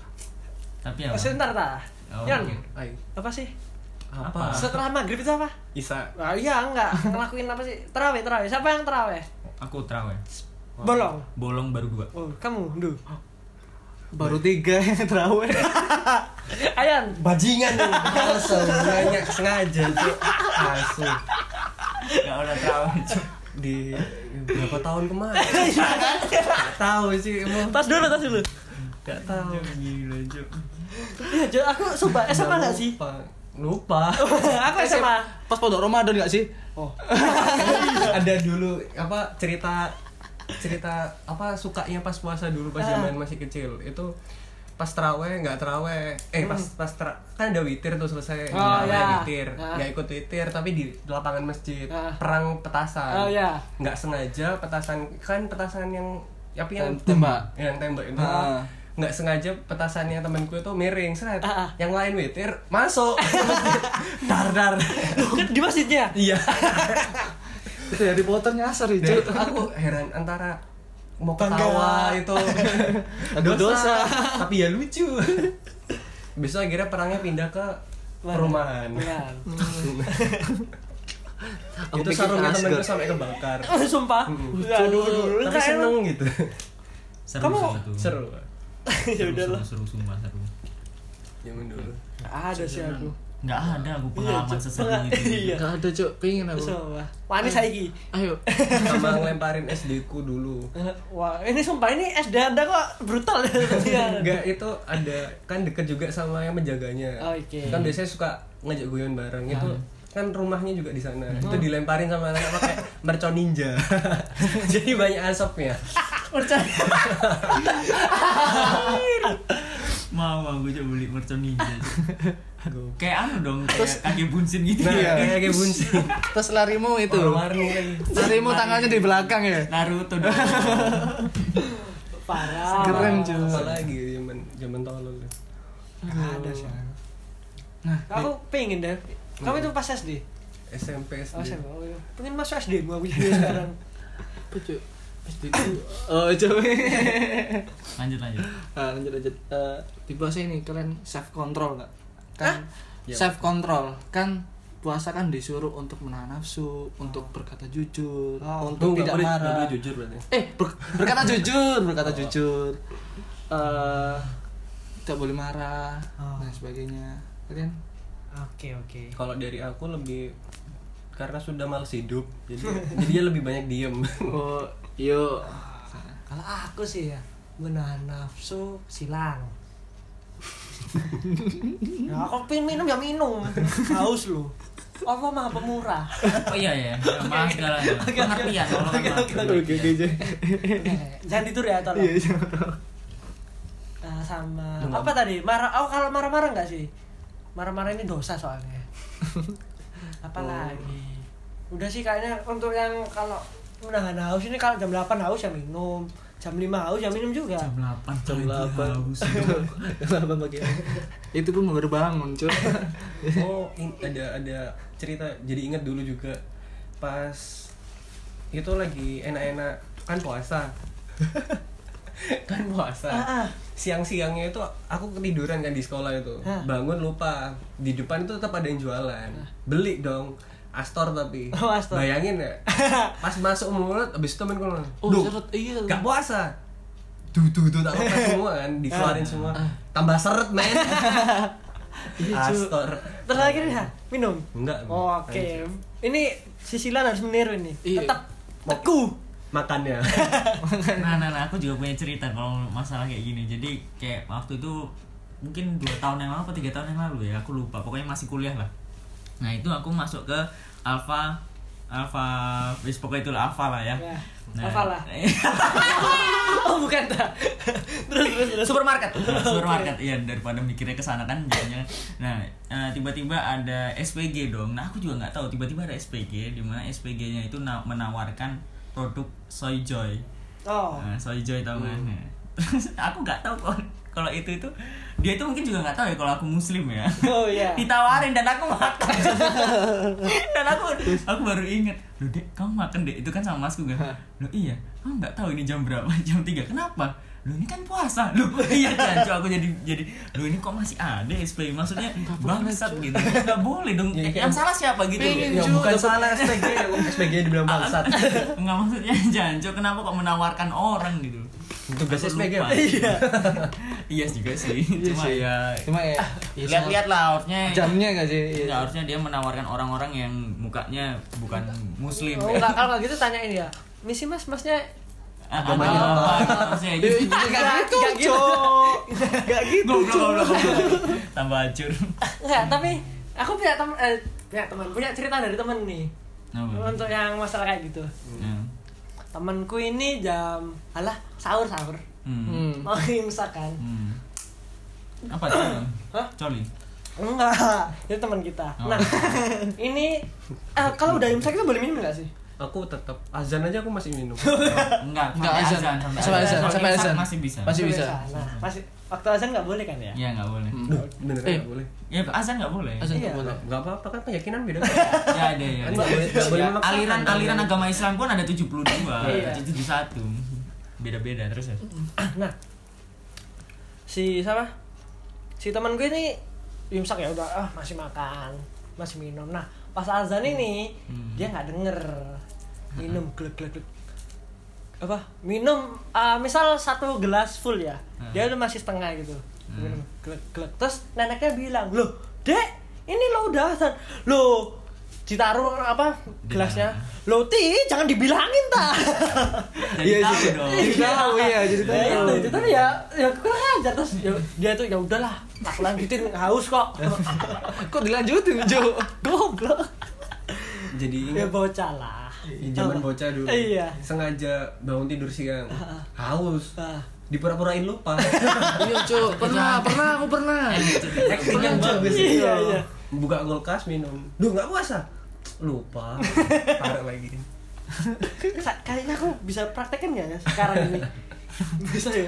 [SPEAKER 4] tapi apa
[SPEAKER 5] oh, sebentar ta
[SPEAKER 4] Oh,
[SPEAKER 5] Yan
[SPEAKER 4] oke. Ah.
[SPEAKER 6] Ay,
[SPEAKER 5] apa sih
[SPEAKER 6] apa?
[SPEAKER 5] setelah maghrib itu apa
[SPEAKER 6] Isa.
[SPEAKER 5] Wah, iya enggak ngelakuin apa sih terawih terawih siapa yang terawih
[SPEAKER 4] aku terawih
[SPEAKER 5] bolong
[SPEAKER 4] bolong baru dua
[SPEAKER 5] oh kamu duh
[SPEAKER 3] baru tiga yang terawih
[SPEAKER 5] Ayan
[SPEAKER 6] Bajingan tuh. Palsu. Banyak sengaja tuh. Palsu.
[SPEAKER 4] nggak udah terawih Cuk.
[SPEAKER 6] Di berapa tahun kemarin? Nggak tahu sih emang.
[SPEAKER 5] tas dulu tas dulu
[SPEAKER 6] Gak tahu. Gila, Cuk.
[SPEAKER 5] iya Jo, aku sumpah SMA nggak sih
[SPEAKER 6] Lupa. Lupa.
[SPEAKER 5] aku SMA
[SPEAKER 3] pas pondok Ramadan gak sih
[SPEAKER 6] Ada dulu apa cerita cerita apa sukanya pas puasa dulu pas
[SPEAKER 5] Ah.
[SPEAKER 6] zaman masih kecil itu pas teraweh nggak teraweh eh pas pas tra- kan ada witir tuh selesai
[SPEAKER 5] Hmm. Oh,
[SPEAKER 6] Nggak ada
[SPEAKER 5] iya.
[SPEAKER 6] witir
[SPEAKER 5] Ah.
[SPEAKER 6] nggak ikut witir tapi di lapangan masjid
[SPEAKER 5] Ah.
[SPEAKER 6] perang petasan
[SPEAKER 5] Oh, iya.
[SPEAKER 6] nggak sengaja petasan kan petasan yang tapi yang
[SPEAKER 3] Tem- tembak.
[SPEAKER 6] yang tembak itu
[SPEAKER 3] Ah.
[SPEAKER 6] nggak sengaja petasannya temanku itu miring seret
[SPEAKER 5] Ah, ah.
[SPEAKER 6] yang lain witir masuk ke masjid. dar dar
[SPEAKER 5] Kan di masjidnya
[SPEAKER 6] iya
[SPEAKER 3] itu Harry Potter nyasar ya
[SPEAKER 6] Dan
[SPEAKER 3] cuk
[SPEAKER 5] Nah,
[SPEAKER 6] aku heran antara mau
[SPEAKER 3] Bangga.
[SPEAKER 6] ketawa itu
[SPEAKER 3] Tapi dosa.
[SPEAKER 6] tapi ya lucu besok akhirnya perangnya pindah ke perumahan
[SPEAKER 5] Benar.
[SPEAKER 6] aku itu
[SPEAKER 3] pikir
[SPEAKER 6] sarungnya
[SPEAKER 3] Asgard.
[SPEAKER 6] temenku sampai kebakar
[SPEAKER 5] sumpah aduh Hmm. dulu
[SPEAKER 6] tapi seneng gitu
[SPEAKER 4] seru
[SPEAKER 5] Kamu-
[SPEAKER 4] sih itu
[SPEAKER 6] seru
[SPEAKER 5] ya udahlah
[SPEAKER 4] seru seru sumpah seru
[SPEAKER 6] zaman dulu
[SPEAKER 5] ada sih aku
[SPEAKER 4] nggak ada aku pengalaman
[SPEAKER 5] Cuk.
[SPEAKER 4] seseru
[SPEAKER 5] Pengalaman-
[SPEAKER 4] itu gitu.
[SPEAKER 5] Iya.
[SPEAKER 3] gak ada cuk pengen aku
[SPEAKER 5] sumpah Hmm. manis lagi
[SPEAKER 3] ayo
[SPEAKER 6] sama ngelemparin SD ku dulu
[SPEAKER 5] wah ini sumpah ini SD anda kok brutal ya
[SPEAKER 6] enggak itu ada kan deket juga sama yang menjaganya
[SPEAKER 5] Oke.
[SPEAKER 6] kan biasanya suka ngajak guyon bareng itu
[SPEAKER 3] Iya.
[SPEAKER 6] kan rumahnya juga di sana
[SPEAKER 3] Hmm.
[SPEAKER 6] itu dilemparin sama anak pakai mercon ninja jadi banyak ya. asapnya
[SPEAKER 5] percaya
[SPEAKER 4] mau aku coba beli mercon ninja Cuk. kayak anu dong kayak kakek bunsin gitu
[SPEAKER 6] nah
[SPEAKER 4] ya
[SPEAKER 6] kayak kayak bunsi
[SPEAKER 3] terus larimu Iya. itu
[SPEAKER 6] warna-warni lagi
[SPEAKER 3] larimu tangannya di belakang ya
[SPEAKER 4] Naruto dong
[SPEAKER 5] parah
[SPEAKER 3] keren cuk
[SPEAKER 6] apa lagi ya zaman zaman tolol ya?
[SPEAKER 3] ada sih
[SPEAKER 5] aku pengen deh kamu itu pas SD
[SPEAKER 6] SMP
[SPEAKER 5] oh
[SPEAKER 6] SD
[SPEAKER 5] SMA oh, Hmm. iya. pengen masuk SD gua aku jadi sekarang
[SPEAKER 3] apa cuk SD ku oh cuk
[SPEAKER 4] lanjut lanjut
[SPEAKER 3] Ah, lanjut lanjut Eh, di puasa ini kalian self control nggak kan self control kan puasa kan disuruh untuk menahan nafsu untuk berkata jujur untuk tidak marah
[SPEAKER 6] jujur berarti
[SPEAKER 3] eh ber- berkata jujur berkata jujur Oh. Eh, tidak boleh marah
[SPEAKER 5] Oh.
[SPEAKER 3] dan sebagainya kan? kalian
[SPEAKER 5] oke oke
[SPEAKER 6] kalau dari aku lebih karena sudah males hidup jadi jadinya lebih banyak diem
[SPEAKER 3] oh yuk
[SPEAKER 5] kalau aku sih ya menahan nafsu silang ya aku pengen minum ya minum haus lu apa mah pemurah
[SPEAKER 4] oh iya iya ya, maaf segala ya pengertian tolong
[SPEAKER 5] jangan tidur ya tolong Nah, sama apa tadi marah oh kalau marah-marah nggak sih marah-marah ini dosa soalnya apalagi udah sih kayaknya untuk yang kalau menahan haus ini kalau jam 8 haus ya minum jam 5 haus ya minum juga
[SPEAKER 4] jam 8
[SPEAKER 3] jam
[SPEAKER 4] pagi
[SPEAKER 3] delapan
[SPEAKER 4] haus.
[SPEAKER 3] jam delapan pagi itu pun baru bangun cuy
[SPEAKER 6] oh in- ada ada cerita jadi ingat dulu juga pas itu lagi enak-enak kan puasa kan puasa
[SPEAKER 5] Ah, ah.
[SPEAKER 6] siang-siangnya itu aku ketiduran kan di sekolah itu
[SPEAKER 5] Hah.
[SPEAKER 6] bangun lupa di depan itu tetap ada yang jualan beli dong Astor tapi
[SPEAKER 5] Ah. Oh, Astor.
[SPEAKER 6] bayangin ya pas masuk mulut abis itu temen gue ngomong,
[SPEAKER 3] oh
[SPEAKER 6] "Duh,
[SPEAKER 3] seret iya
[SPEAKER 6] gak puasa duh duh duh tak lepas semua kan
[SPEAKER 5] Ah.
[SPEAKER 6] dikeluarin semua tambah seret men
[SPEAKER 5] Iya,
[SPEAKER 6] astor
[SPEAKER 5] terus lagi nih ha, minum
[SPEAKER 6] enggak
[SPEAKER 5] Oh, oke ini sisilan harus meniru ini
[SPEAKER 3] Iya.
[SPEAKER 5] tetap teku
[SPEAKER 6] makannya
[SPEAKER 4] nah, nah, nah, aku juga punya cerita kalau masalah kayak gini. Jadi kayak waktu itu mungkin dua tahun yang lalu atau tiga tahun yang lalu ya, aku lupa. Pokoknya masih kuliah lah. Nah itu aku masuk ke Alpha Alfa, wis pokoknya itulah Alfa lah ya. Iya,
[SPEAKER 5] Ya, Alfa lah. oh bukan tak terus terus terus supermarket
[SPEAKER 4] Nah, supermarket iya daripada mikirnya ke sana kan jangan nah eh, tiba-tiba ada SPG dong nah aku juga nggak tahu tiba-tiba ada SPG di mana SPG-nya itu na- menawarkan produk soy joy
[SPEAKER 5] oh
[SPEAKER 4] Nah, soy joy tau kan Nah, terus aku nggak tahu kalau kalau itu itu dia itu mungkin juga nggak tahu ya kalau aku muslim ya
[SPEAKER 5] oh iya
[SPEAKER 4] ditawarin dan aku makan dan aku aku baru inget loh dek kamu makan dek itu kan sama masku kan loh iya kamu nggak tahu ini jam berapa jam 3 kenapa loh ini kan puasa loh iya jancu aku jadi jadi loh ini kok masih ada SPG maksudnya bangsat gitu nggak boleh dong Eh,
[SPEAKER 5] Iya,
[SPEAKER 6] Ya, kayak-
[SPEAKER 4] yang salah siapa gitu
[SPEAKER 6] Ya bukan salah SPG, ya, SPG dibilang
[SPEAKER 5] Ah.
[SPEAKER 6] bangsat.
[SPEAKER 4] nggak maksudnya jancu kenapa kok menawarkan orang gitu
[SPEAKER 6] Tugas
[SPEAKER 4] Aku
[SPEAKER 6] SPG.
[SPEAKER 4] lupa. iya juga sih cuma ya
[SPEAKER 3] cuma ya ya,
[SPEAKER 4] lihat-lihat lah outnya
[SPEAKER 3] jamnya gak sih Iya.
[SPEAKER 4] Nggak, harusnya dia menawarkan orang-orang yang mukanya bukan muslim
[SPEAKER 5] oh enggak kalau nggak gitu tanyain ya misi mas masnya
[SPEAKER 4] Ah, agamanya apa gitu harusnya gitu.
[SPEAKER 3] Iya.
[SPEAKER 5] nggak gitu nggak gitu nggak gitu
[SPEAKER 4] Goblok, goblok, goblok. tambah hancur
[SPEAKER 5] nggak tapi aku punya teman eh, punya teman punya cerita dari temen nih
[SPEAKER 3] Hmm.
[SPEAKER 4] Apa?
[SPEAKER 5] untuk yang masalah kayak gitu
[SPEAKER 4] Ya.
[SPEAKER 5] temanku ini jam alah sahur sahur
[SPEAKER 4] Hmm.
[SPEAKER 3] Hmm.
[SPEAKER 5] mau imsak kan
[SPEAKER 4] Hmm. apa tuh
[SPEAKER 5] Hah?
[SPEAKER 4] coli
[SPEAKER 5] enggak itu teman kita
[SPEAKER 4] Oh.
[SPEAKER 5] nah ini eh, kalau udah imsak itu boleh minum nggak sih
[SPEAKER 6] Aku tetap azan aja aku masih minum. Oh,
[SPEAKER 4] enggak
[SPEAKER 3] Enggak,
[SPEAKER 4] sampai
[SPEAKER 3] azan.
[SPEAKER 4] sampai
[SPEAKER 3] Sampai azan,
[SPEAKER 4] Kalau
[SPEAKER 3] sampai
[SPEAKER 4] imsak
[SPEAKER 3] azan.
[SPEAKER 4] masih bisa
[SPEAKER 3] Masih bisa.
[SPEAKER 5] nah masih waktu azan nggak boleh kan ya
[SPEAKER 4] ya nggak boleh
[SPEAKER 6] Duh, beneran
[SPEAKER 3] Eh.
[SPEAKER 6] nggak boleh.
[SPEAKER 4] ya azan nggak boleh
[SPEAKER 3] Azan tuh
[SPEAKER 5] Iya.
[SPEAKER 3] boleh.
[SPEAKER 6] Enggak apa-apa kan keyakinan beda.
[SPEAKER 4] ya ada ya
[SPEAKER 6] Kan nggak boleh nggak boleh memaksakan.
[SPEAKER 4] aliran-aliran agama Islam pun ada 72
[SPEAKER 5] Iya.
[SPEAKER 4] ada 71 beda-beda terus ya
[SPEAKER 5] nah si siapa si teman gue ini imsak ya udah ah masih makan masih minum nah pas azan ini
[SPEAKER 4] Hmm.
[SPEAKER 5] dia nggak denger minum glek glek glek apa minum ah, misal satu gelas full ya
[SPEAKER 4] Hmm.
[SPEAKER 5] dia udah masih setengah gitu minum glek glek terus neneknya bilang loh dek ini lo udah azan lo ditaruh apa gelasnya lo ti jangan dibilangin ta
[SPEAKER 4] Jadi
[SPEAKER 3] Iya
[SPEAKER 4] tahu
[SPEAKER 3] sih.
[SPEAKER 4] dong.
[SPEAKER 3] Jadi tahu ya, jadi
[SPEAKER 5] Ya
[SPEAKER 3] tahu.
[SPEAKER 5] itu, itu tapi ya ya kurang ajar terus ya, dia tuh ya udahlah, tak lanjutin haus kok.
[SPEAKER 3] Kok dilanjutin, Jo?
[SPEAKER 5] Goblok.
[SPEAKER 6] Jadi
[SPEAKER 5] Ya bocah lah.
[SPEAKER 6] ini zaman bocah dulu.
[SPEAKER 5] Oh. Iya.
[SPEAKER 6] Sengaja bangun tidur siang. Haus.
[SPEAKER 5] Ah.
[SPEAKER 6] Dipura-purain lupa.
[SPEAKER 3] Iya, Jo. Pernah, pernah, aku pernah.
[SPEAKER 6] Acting yang bagus
[SPEAKER 5] Iya,
[SPEAKER 6] itu.
[SPEAKER 5] iya.
[SPEAKER 6] Buka kulkas minum. Duh, nggak puasa. Lupa. Parah lagi.
[SPEAKER 5] Sa- Kayaknya aku bisa praktekin nggak ya sekarang ini? Bisa ya.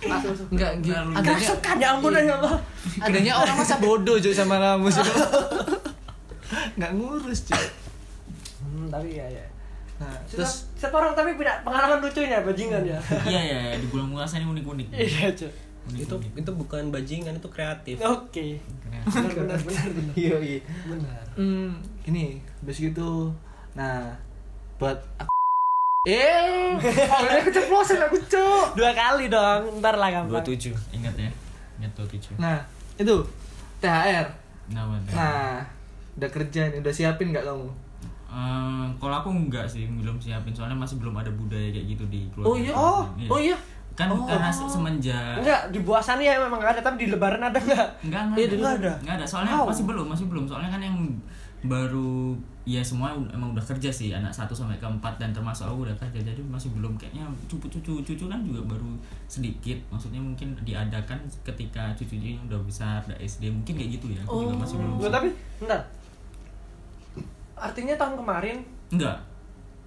[SPEAKER 3] Enggak, gitu. Adanya,
[SPEAKER 5] Kerasukan ya ampun ya Allah.
[SPEAKER 3] adanya orang masa bodoh, Jo, sama kamu, Jo. Enggak ngurus, Jo.
[SPEAKER 5] Hmm, tapi ya ya.
[SPEAKER 3] Nah,
[SPEAKER 5] Terus
[SPEAKER 3] terus
[SPEAKER 5] setiap orang tapi punya pengalaman lucunya bajingan ya.
[SPEAKER 4] Iya iya iya, di bulan puasa ini unik-unik.
[SPEAKER 5] Iya, cuy.
[SPEAKER 4] Unik-unik.
[SPEAKER 6] Itu itu bukan bajingan, itu kreatif.
[SPEAKER 5] Oke. Benar benar benar. benar.
[SPEAKER 3] iya, iya.
[SPEAKER 5] Benar.
[SPEAKER 3] Hmm, ini habis gitu. Nah, buat aku Eh, orangnya keceplosan aku, Jo.
[SPEAKER 5] Dua kali dong, ntar lah gampang.
[SPEAKER 4] 27. Ingat ya. Ingat 27.
[SPEAKER 3] Nah, itu THR.
[SPEAKER 4] Nah, bener.
[SPEAKER 3] Nah, udah kerja nih, udah siapin nggak kamu?
[SPEAKER 4] Eh, kalau aku enggak sih belum siapin soalnya masih belum ada budaya kayak gitu di keluarga.
[SPEAKER 5] Oh iya. Oh, oh iya. Oh.
[SPEAKER 4] Kan karena se- semenjak
[SPEAKER 5] Enggak, di Buasan ya memang ada, tapi di Lebaran ada enggak?
[SPEAKER 4] enggak enggak
[SPEAKER 5] Iya, dulu ada.
[SPEAKER 4] Enggak ada. Soalnya
[SPEAKER 5] Wow.
[SPEAKER 4] masih belum, masih belum. Soalnya kan yang baru ya semua emang udah kerja sih anak satu sampai keempat dan termasuk aku udah kerja jadi masih belum kayaknya cucu-cucu cucu kan juga baru sedikit maksudnya mungkin diadakan ketika cucunya udah besar udah SD mungkin kayak gitu ya aku juga masih belum
[SPEAKER 5] Loh, tapi bentar. Artinya tahun kemarin
[SPEAKER 4] enggak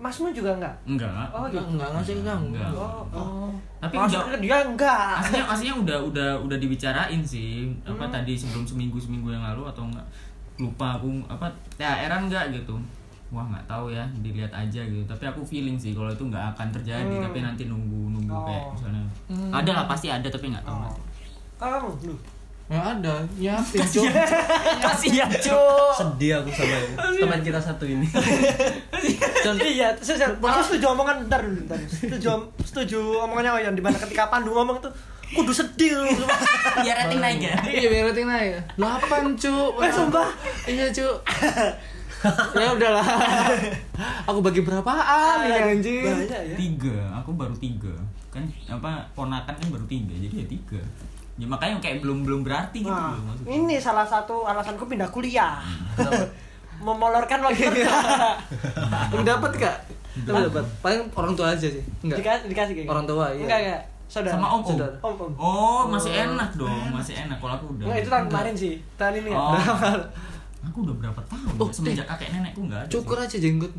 [SPEAKER 5] Masmu juga enggak?
[SPEAKER 4] enggak
[SPEAKER 5] Oh, gitu.
[SPEAKER 3] enggak ngasih enggak.
[SPEAKER 4] enggak
[SPEAKER 5] Oh, oh.
[SPEAKER 4] tapi
[SPEAKER 5] Maksudnya
[SPEAKER 4] enggak
[SPEAKER 5] dia enggak.
[SPEAKER 4] aslinya aslinya udah udah udah dibicarain sih apa
[SPEAKER 5] Hmm.
[SPEAKER 4] tadi sebelum seminggu seminggu yang lalu atau enggak lupa aku apa THR-an enggak gitu wah nggak tahu ya dilihat aja gitu tapi aku feeling sih kalau itu nggak akan terjadi tapi nanti nunggu nunggu kayak
[SPEAKER 5] Hmm. Oh.
[SPEAKER 4] misalnya ada lah pasti ada tapi nggak tahu
[SPEAKER 5] Oh.
[SPEAKER 4] nanti.
[SPEAKER 5] Kalau kamu lu.
[SPEAKER 3] Ya ada, nyiapin Jo.
[SPEAKER 5] Iya. Kasihan, Cuk.
[SPEAKER 6] Sedih aku sama ini. teman kita satu ini.
[SPEAKER 5] Iya, terus terus. aku setuju omongan bentar dulu, bentar. Setuju om- setuju omongannya Wayan di mana ketika Pandu ngomong itu kudu sedih lu.
[SPEAKER 4] biar rating naik ya
[SPEAKER 3] Iya, biar rating naik. 8, Cuk.
[SPEAKER 5] Eh, sumpah.
[SPEAKER 3] Iya, Cuk. ya udahlah. Aku bagi berapaan ini Nah, anjing?
[SPEAKER 5] Banyak Iya. ya.
[SPEAKER 4] tiga aku baru tiga kan apa ponakan kan baru tiga jadi ya tiga ya makanya kayak belum belum berarti gitu
[SPEAKER 5] Nah,
[SPEAKER 4] loh maksudnya
[SPEAKER 5] ini salah satu alasanku pindah kuliah. Memolorkan waktu kerja.
[SPEAKER 3] Lu dapat kak? Lu dapat. Paling orang tua aja sih. Enggak.
[SPEAKER 5] Dikasih dikasih kayak
[SPEAKER 3] Iya.
[SPEAKER 5] gitu?
[SPEAKER 3] Orang tua, iya.
[SPEAKER 5] Enggak enggak. Saudara.
[SPEAKER 4] Sama om, om.
[SPEAKER 3] Saudara.
[SPEAKER 5] Om, om.
[SPEAKER 4] Oh, masih enak dong, masih enak. Kalau aku udah.
[SPEAKER 5] Enggak Nah, itu tahun kemarin sih. Tahun ini ya.
[SPEAKER 4] Oh. aku udah berapa tahun? ya?
[SPEAKER 3] Oh,
[SPEAKER 4] Semenjak kakek nenekku enggak ada.
[SPEAKER 3] Cukur aja jenggot.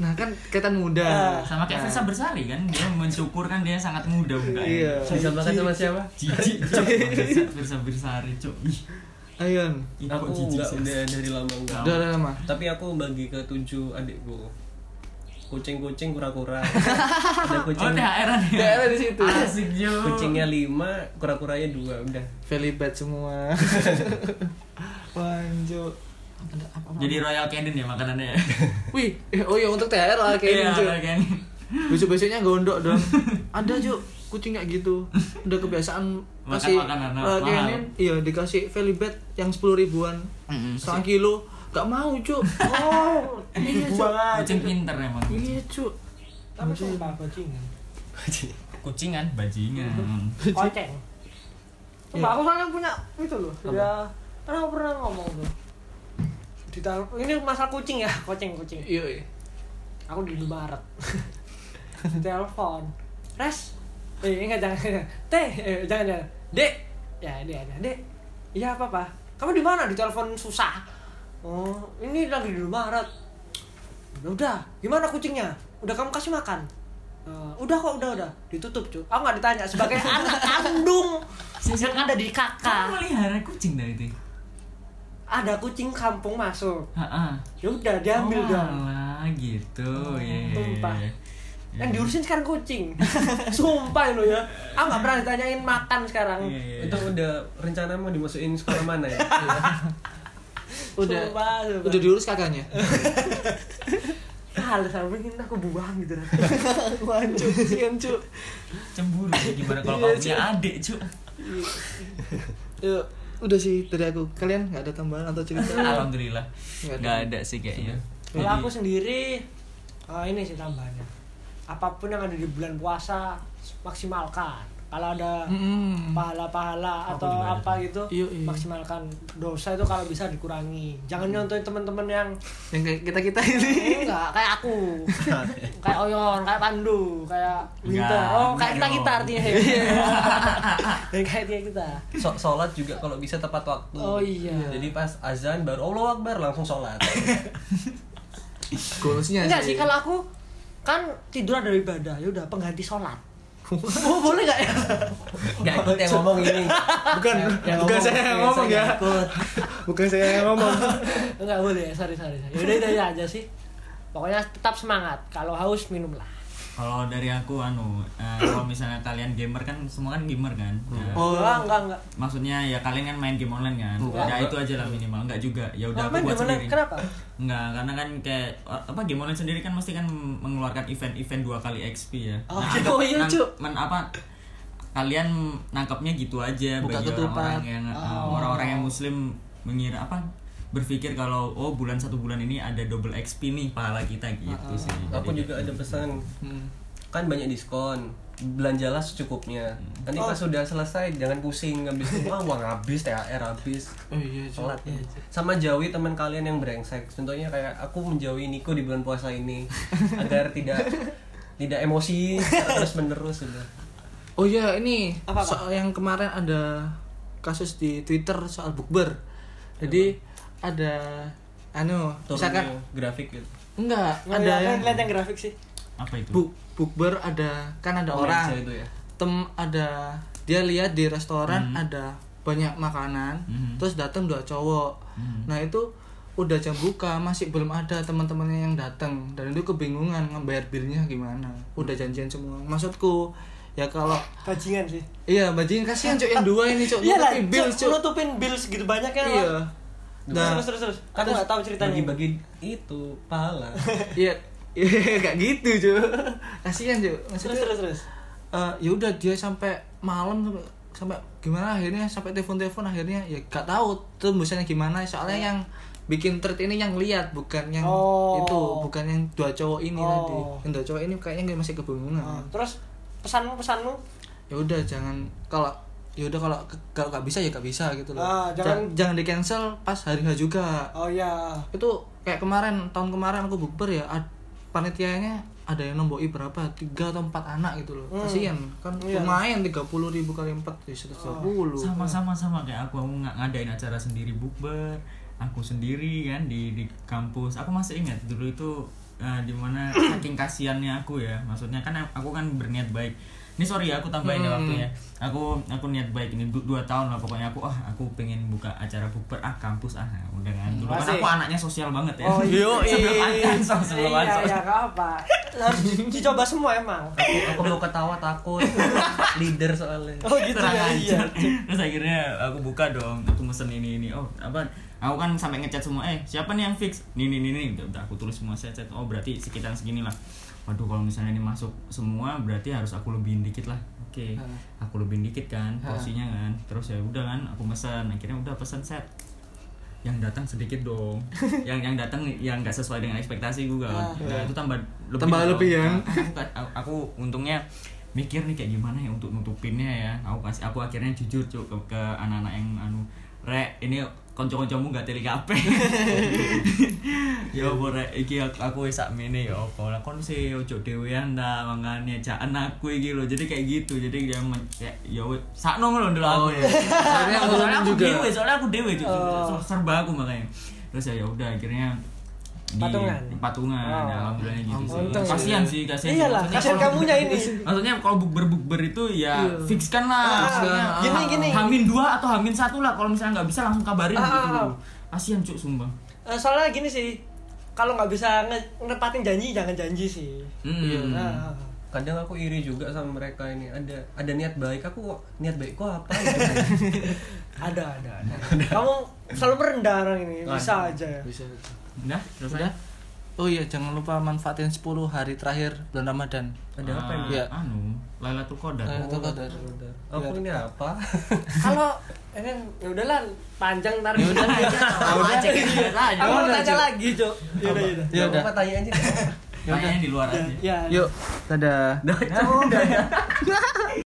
[SPEAKER 3] Nah kan kelihatan muda.
[SPEAKER 4] sih. Sama kayak Versa Bersari kan, dia mensyukur kan dia sangat muda bukan?
[SPEAKER 3] Iya.
[SPEAKER 6] bisa makan sama siapa
[SPEAKER 4] Jijik, Cok. Versa, Versa Bersari, Cok. Ih,
[SPEAKER 3] Ayun.
[SPEAKER 4] ih, kok
[SPEAKER 6] aku
[SPEAKER 4] jijik
[SPEAKER 6] nggak
[SPEAKER 4] sih. Oh,
[SPEAKER 6] udah dari lama enggak
[SPEAKER 3] Udah udah lama.
[SPEAKER 6] tapi aku bagi ke tujuh adikku kucing-kucing kura-kura ada
[SPEAKER 4] Oh,
[SPEAKER 6] kucing
[SPEAKER 4] THR ada.
[SPEAKER 3] THR ada di situ.
[SPEAKER 4] Asik, Jo.
[SPEAKER 6] kucingnya lima kura-kuranya dua udah
[SPEAKER 3] Valley bad semua. Wanjo. Ada apa?
[SPEAKER 4] Jadi Royal Canin ya makanannya. ya?
[SPEAKER 3] Wih, eh, oh iya untuk THR lah
[SPEAKER 4] Iya,
[SPEAKER 3] kayaknya. Cuk.
[SPEAKER 4] Royal Canin.
[SPEAKER 3] Besok-besoknya gondok dong. Ada Cuk, kucing kayak gitu. Udah kebiasaan
[SPEAKER 4] Makan
[SPEAKER 3] kasih
[SPEAKER 4] makanan
[SPEAKER 3] eh,
[SPEAKER 4] mahal.
[SPEAKER 3] kainin, iya dikasih Valley Bed yang 10 ribuan.
[SPEAKER 4] Mm-mm.
[SPEAKER 3] Setengah kilo. Gak mau, Cuk. Oh, iya, Cuk.
[SPEAKER 4] Kucing pinter emang.
[SPEAKER 3] Iya, Cuk.
[SPEAKER 5] Tapi sumpah bajingan.
[SPEAKER 4] Kucingan, bajingan.
[SPEAKER 5] Koceng. Sumpah aku soalnya punya itu loh. Ya, karena aku pernah ngomong tuh. Di tahun ini masalah kucing ya, kucing kucing.
[SPEAKER 3] Iya, iya.
[SPEAKER 5] Aku di Indomaret. Telepon. Res. Eh, enggak jangan. jangan. Teh, eh, jangan jangan. Dek. Ya, ini ada. Dek. Iya, apa, Pak? Kamu di mana? Di telepon susah. Oh, ini lagi di Indomaret. Ya Udah, gimana kucingnya? Udah kamu kasih makan? "Eh, udah kok, udah, udah. Ditutup, cuy. Aku nggak ditanya sebagai anak kandung. Sekarang ada di
[SPEAKER 4] Kamu
[SPEAKER 5] kakak.
[SPEAKER 4] melihara kucing dari itu?
[SPEAKER 5] Ada kucing kampung masuk.
[SPEAKER 4] Heeh.
[SPEAKER 5] Ya udah, diambil
[SPEAKER 4] oh,
[SPEAKER 5] dong.
[SPEAKER 4] alah, gitu. ya
[SPEAKER 5] Tumpah.
[SPEAKER 4] Iya.
[SPEAKER 5] yang diurusin sekarang kucing sumpah lo ya aku nggak pernah ditanyain makan sekarang
[SPEAKER 4] Iya, iya, iya.
[SPEAKER 6] itu udah rencana mau dimasukin sekolah mana ya
[SPEAKER 3] Udah
[SPEAKER 5] sumpah, sumpah.
[SPEAKER 3] udah diurus kakaknya.
[SPEAKER 5] hal sama ingin aku buang gitu
[SPEAKER 3] Wanjo, kesian, Cuk.
[SPEAKER 4] cemburu ya gimana kalau
[SPEAKER 3] Iya,
[SPEAKER 4] kamu punya adik, Cuk?
[SPEAKER 5] Iya.
[SPEAKER 3] Ya, udah sih dari aku. Kalian nggak ada tambahan atau cerita?
[SPEAKER 4] Alhamdulillah.
[SPEAKER 3] Nggak ada.
[SPEAKER 5] Iya,
[SPEAKER 4] Enggak ada sih kayaknya.
[SPEAKER 5] kalau aku sendiri eh, ini sih tambahannya apapun yang ada di bulan puasa maksimalkan kalau ada
[SPEAKER 3] Mm-mm.
[SPEAKER 4] Aku
[SPEAKER 5] pahala-pahala atau
[SPEAKER 4] juga ada.
[SPEAKER 5] apa gitu
[SPEAKER 3] Iya, iya.
[SPEAKER 5] maksimalkan dosa itu kalau bisa dikurangi jangan nyontohin teman-teman yang
[SPEAKER 3] Yang
[SPEAKER 5] "Eh,
[SPEAKER 3] kayak kita kita ini.
[SPEAKER 5] enggak kayak aku
[SPEAKER 6] Nah,
[SPEAKER 5] kayak Oyon, kayak Pandu, kayak Winter.
[SPEAKER 4] Enggak,
[SPEAKER 5] Oh, kayak kita
[SPEAKER 4] enggak
[SPEAKER 5] kita
[SPEAKER 4] dong.
[SPEAKER 5] artinya. Dan kayak dia kita.
[SPEAKER 6] So- sholat juga kalau bisa tepat waktu
[SPEAKER 5] Oh, iya.
[SPEAKER 6] jadi pas azan baru Allah Akbar langsung sholat
[SPEAKER 3] Goalsnya
[SPEAKER 5] Enggak sih kalau aku kan tidur ada ibadah, ya udah pengganti sholat. oh, boleh nggak ya?
[SPEAKER 6] nggak ikut yang ngomong ini
[SPEAKER 3] bukan bukan saya yang ngomong ya. Bukan saya yang ngomong.
[SPEAKER 5] Enggak boleh, sorry sorry. sorry. Ya udah itu aja sih. Pokoknya tetap semangat. Kalau haus minumlah.
[SPEAKER 4] Kalau dari aku anu, eh, kalau misalnya kalian gamer kan semua kan gamer kan. Nah,
[SPEAKER 3] Oh.
[SPEAKER 5] enggak enggak enggak.
[SPEAKER 4] Maksudnya ya kalian kan main game online kan.
[SPEAKER 5] Enggak.
[SPEAKER 4] Ya itu aja lah minimal, enggak juga. Ya udah aku
[SPEAKER 5] Main
[SPEAKER 4] buat
[SPEAKER 5] game online,
[SPEAKER 4] sendiri.
[SPEAKER 5] kenapa?
[SPEAKER 4] Enggak, karena kan kayak apa game online sendiri kan mesti kan mengeluarkan event-event dua kali XP ya.
[SPEAKER 5] Oh,
[SPEAKER 4] anggap-
[SPEAKER 5] oh iya,
[SPEAKER 4] nang-
[SPEAKER 5] Cuk.
[SPEAKER 4] men- apa kalian nangkapnya gitu aja
[SPEAKER 3] Buka
[SPEAKER 4] bagi
[SPEAKER 3] ketupat.
[SPEAKER 4] orang-orang yang
[SPEAKER 5] Oh.
[SPEAKER 4] eh, orang-orang yang muslim mengira apa berpikir kalau oh bulan satu bulan ini ada double XP nih pahala kita
[SPEAKER 5] Ah.
[SPEAKER 4] gitu sih.
[SPEAKER 6] aku
[SPEAKER 4] Jadi,
[SPEAKER 6] juga ada pesan kan banyak diskon belanjalah secukupnya
[SPEAKER 4] Hmm.
[SPEAKER 6] nanti pas sudah selesai jangan pusing habis wah uang habis THR habis
[SPEAKER 3] Oh iya, Cuk.
[SPEAKER 6] sholat sama jauhi teman kalian yang brengsek contohnya kayak aku menjauhi Niko di bulan puasa ini agar tidak tidak emosi gitu." terus menerus sudah
[SPEAKER 3] Oh iya, ini
[SPEAKER 5] Apa, Kak?
[SPEAKER 3] soal yang kemarin ada kasus di Twitter soal bukber. Jadi ada anu,
[SPEAKER 6] turun
[SPEAKER 3] misalkan
[SPEAKER 6] ke grafik gitu
[SPEAKER 3] enggak,
[SPEAKER 5] Nggak,
[SPEAKER 3] ada
[SPEAKER 5] nggak,
[SPEAKER 3] yang
[SPEAKER 5] lihat yang grafik sih.
[SPEAKER 4] apa itu?
[SPEAKER 3] bu- bukber ada kan ada
[SPEAKER 6] Pemirsa
[SPEAKER 3] orang
[SPEAKER 6] itu ya
[SPEAKER 3] tem ada dia lihat di restoran ada banyak makanan
[SPEAKER 4] Mhm.
[SPEAKER 3] terus datang dua cowok nah itu udah jam buka masih belum ada teman-temannya yang datang dan itu kebingungan ngebayar bilnya gimana udah janjian semua maksudku ya kalau
[SPEAKER 5] Bajingan sih.
[SPEAKER 3] iya bajingan kasihan cuk yang dua ini cuk
[SPEAKER 5] Iya lah,
[SPEAKER 3] nutupi
[SPEAKER 5] Cuk,
[SPEAKER 3] bills, cuk
[SPEAKER 5] nutupin bill segitu banyak ya.
[SPEAKER 3] iya
[SPEAKER 5] Wan.
[SPEAKER 3] nah
[SPEAKER 5] terus terus terus. Aku nggak tahu ceritanya.
[SPEAKER 6] bagi-bagi itu pahala
[SPEAKER 3] iya iya gak gitu cuk kasihan cuk
[SPEAKER 5] Terus
[SPEAKER 3] maksudnya
[SPEAKER 5] terus terus.
[SPEAKER 3] eh ya udah dia sampai malam sampai- sampai gimana akhirnya sampai telepon-telepon akhirnya ya gak tahu tembusannya gimana soalnya yang bikin thread ini yang lihat bukan yang
[SPEAKER 5] Iya. Oh.
[SPEAKER 3] itu bukan yang dua cowok ini
[SPEAKER 5] Oh.
[SPEAKER 3] tadi yang dua cowok ini kayaknya nggak masih kebingungan
[SPEAKER 5] Nah, terus pesanmu pesanmu
[SPEAKER 3] ya udah jangan kalau ya udah kalau kalau nggak bisa ya nggak bisa gitu loh
[SPEAKER 5] Ah, jangan-
[SPEAKER 3] Ja- jangan di cancel pas hari H juga
[SPEAKER 5] oh ya
[SPEAKER 3] itu kayak kemarin tahun kemarin aku bukber ya ad- panitianya ada yang nomboi berapa tiga atau empat anak gitu loh
[SPEAKER 5] Hmm.
[SPEAKER 3] kasihan kan
[SPEAKER 5] Iya.
[SPEAKER 3] lumayan tiga puluh ribu kali empat ya seratus dua puluh
[SPEAKER 4] sama sama sama kayak aku aku nggak ngadain acara sendiri bukber aku sendiri kan di di kampus aku masih ingat dulu itu eh, di dimana saking kasihannya aku ya maksudnya kan aku kan berniat baik ini sorry ya aku tambahin
[SPEAKER 5] Hmm.
[SPEAKER 4] ya waktunya aku aku niat baik ini du- dua tahun lah pokoknya aku ah aku pengen buka acara bukber ah kampus ah udah kan dulu kan
[SPEAKER 5] Masih.
[SPEAKER 4] aku anaknya sosial banget ya
[SPEAKER 5] Oh,
[SPEAKER 4] sebelum
[SPEAKER 5] yoi.
[SPEAKER 4] ansos sebelum
[SPEAKER 5] iya
[SPEAKER 4] ansos
[SPEAKER 5] ya gak apa harus dicoba semua emang
[SPEAKER 6] aku mau ketawa takut leader soalnya
[SPEAKER 5] oh gitu
[SPEAKER 4] Kurang
[SPEAKER 5] ya iya
[SPEAKER 4] ajar. terus akhirnya aku buka dong aku mesen ini ini oh apa aku kan sampai ngechat semua eh siapa nih yang fix nih nih nih nih udah, udah aku tulis semua saya chat oh berarti sekitaran segini lah waduh kalau misalnya ini masuk semua berarti harus aku lebihin dikit lah oke
[SPEAKER 5] Ah.
[SPEAKER 4] aku lebihin dikit kan porsinya kan terus ya udah kan aku pesan akhirnya udah pesan set yang datang sedikit dong yang yang datang yang nggak sesuai dengan ekspektasi gue kan Nah, itu tambah lebih
[SPEAKER 3] Ah, iya. Tambah
[SPEAKER 4] dong.
[SPEAKER 3] lebih ya.
[SPEAKER 4] Nah, aku, aku, aku untungnya mikir nih kayak gimana ya untuk nutupinnya ya aku kasih aku akhirnya jujur Cuk, ke, ke anak-anak yang anu rek ini konco-koncomu gak teli kape ya apa rek iki aku, aku wis sak mene ya apa lah kon sih ojo dhewean ta mangane jaan aku iki lho jadi kayak gitu jadi dia men- kayak ya wis sakno ngono lho aku Oh, ya. iya. soalnya aku, Oh. soalnya aku
[SPEAKER 3] juga.
[SPEAKER 4] dewe soalnya aku dewe Cuk. serba aku makanya terus ya ya udah akhirnya di
[SPEAKER 5] Patungan?
[SPEAKER 4] patungan
[SPEAKER 5] Oh.
[SPEAKER 4] ya, alhamdulillnya gitu sih
[SPEAKER 5] Untung ya.
[SPEAKER 4] kasihan sih kasihan sih.
[SPEAKER 5] iyalah
[SPEAKER 4] Maksudnya
[SPEAKER 5] kasihan
[SPEAKER 4] kalau-
[SPEAKER 5] kamunya ini
[SPEAKER 4] maksudnya kalau bukber bukber itu ya fixkan lah Maksudnya,
[SPEAKER 5] Ah, gini,
[SPEAKER 4] ah,
[SPEAKER 5] gini.
[SPEAKER 4] hamin dua atau hamin satu lah kalau misalnya nggak bisa langsung kabarin
[SPEAKER 5] Ah,
[SPEAKER 4] gitu
[SPEAKER 5] ah, ah.
[SPEAKER 4] loh kasihan cuk sumpah
[SPEAKER 5] Eh, soalnya gini sih kalau nggak bisa nge- ngetepatin janji jangan janji sih
[SPEAKER 4] Hmm.
[SPEAKER 5] Nah,
[SPEAKER 6] kadang aku iri juga sama mereka ini ada ada niat baik aku niat baik kok apa gitu
[SPEAKER 5] ada ada ada kamu selalu merendah orang ini bisa aja ya
[SPEAKER 3] bisa
[SPEAKER 4] udah selesai
[SPEAKER 3] Udah? oh iya jangan lupa manfaatin 10 hari terakhir bulan ramadan
[SPEAKER 6] ada apa ini
[SPEAKER 4] ya?
[SPEAKER 3] Iya. Eh,
[SPEAKER 4] anu Lailatul Qadar
[SPEAKER 3] Lailatul Qadar.
[SPEAKER 6] aku
[SPEAKER 3] Iya,
[SPEAKER 6] ini apa
[SPEAKER 5] kalau ini ya udahlah panjang ntar ya udah
[SPEAKER 4] Udah, cekin aja.
[SPEAKER 5] aku mau tanya lagi cok ya udah ya udah.
[SPEAKER 3] ya udah
[SPEAKER 6] apa tanya aja
[SPEAKER 5] Iya,
[SPEAKER 4] Tanyanya di luar aja
[SPEAKER 5] ya
[SPEAKER 3] yuk dadah
[SPEAKER 6] udah ya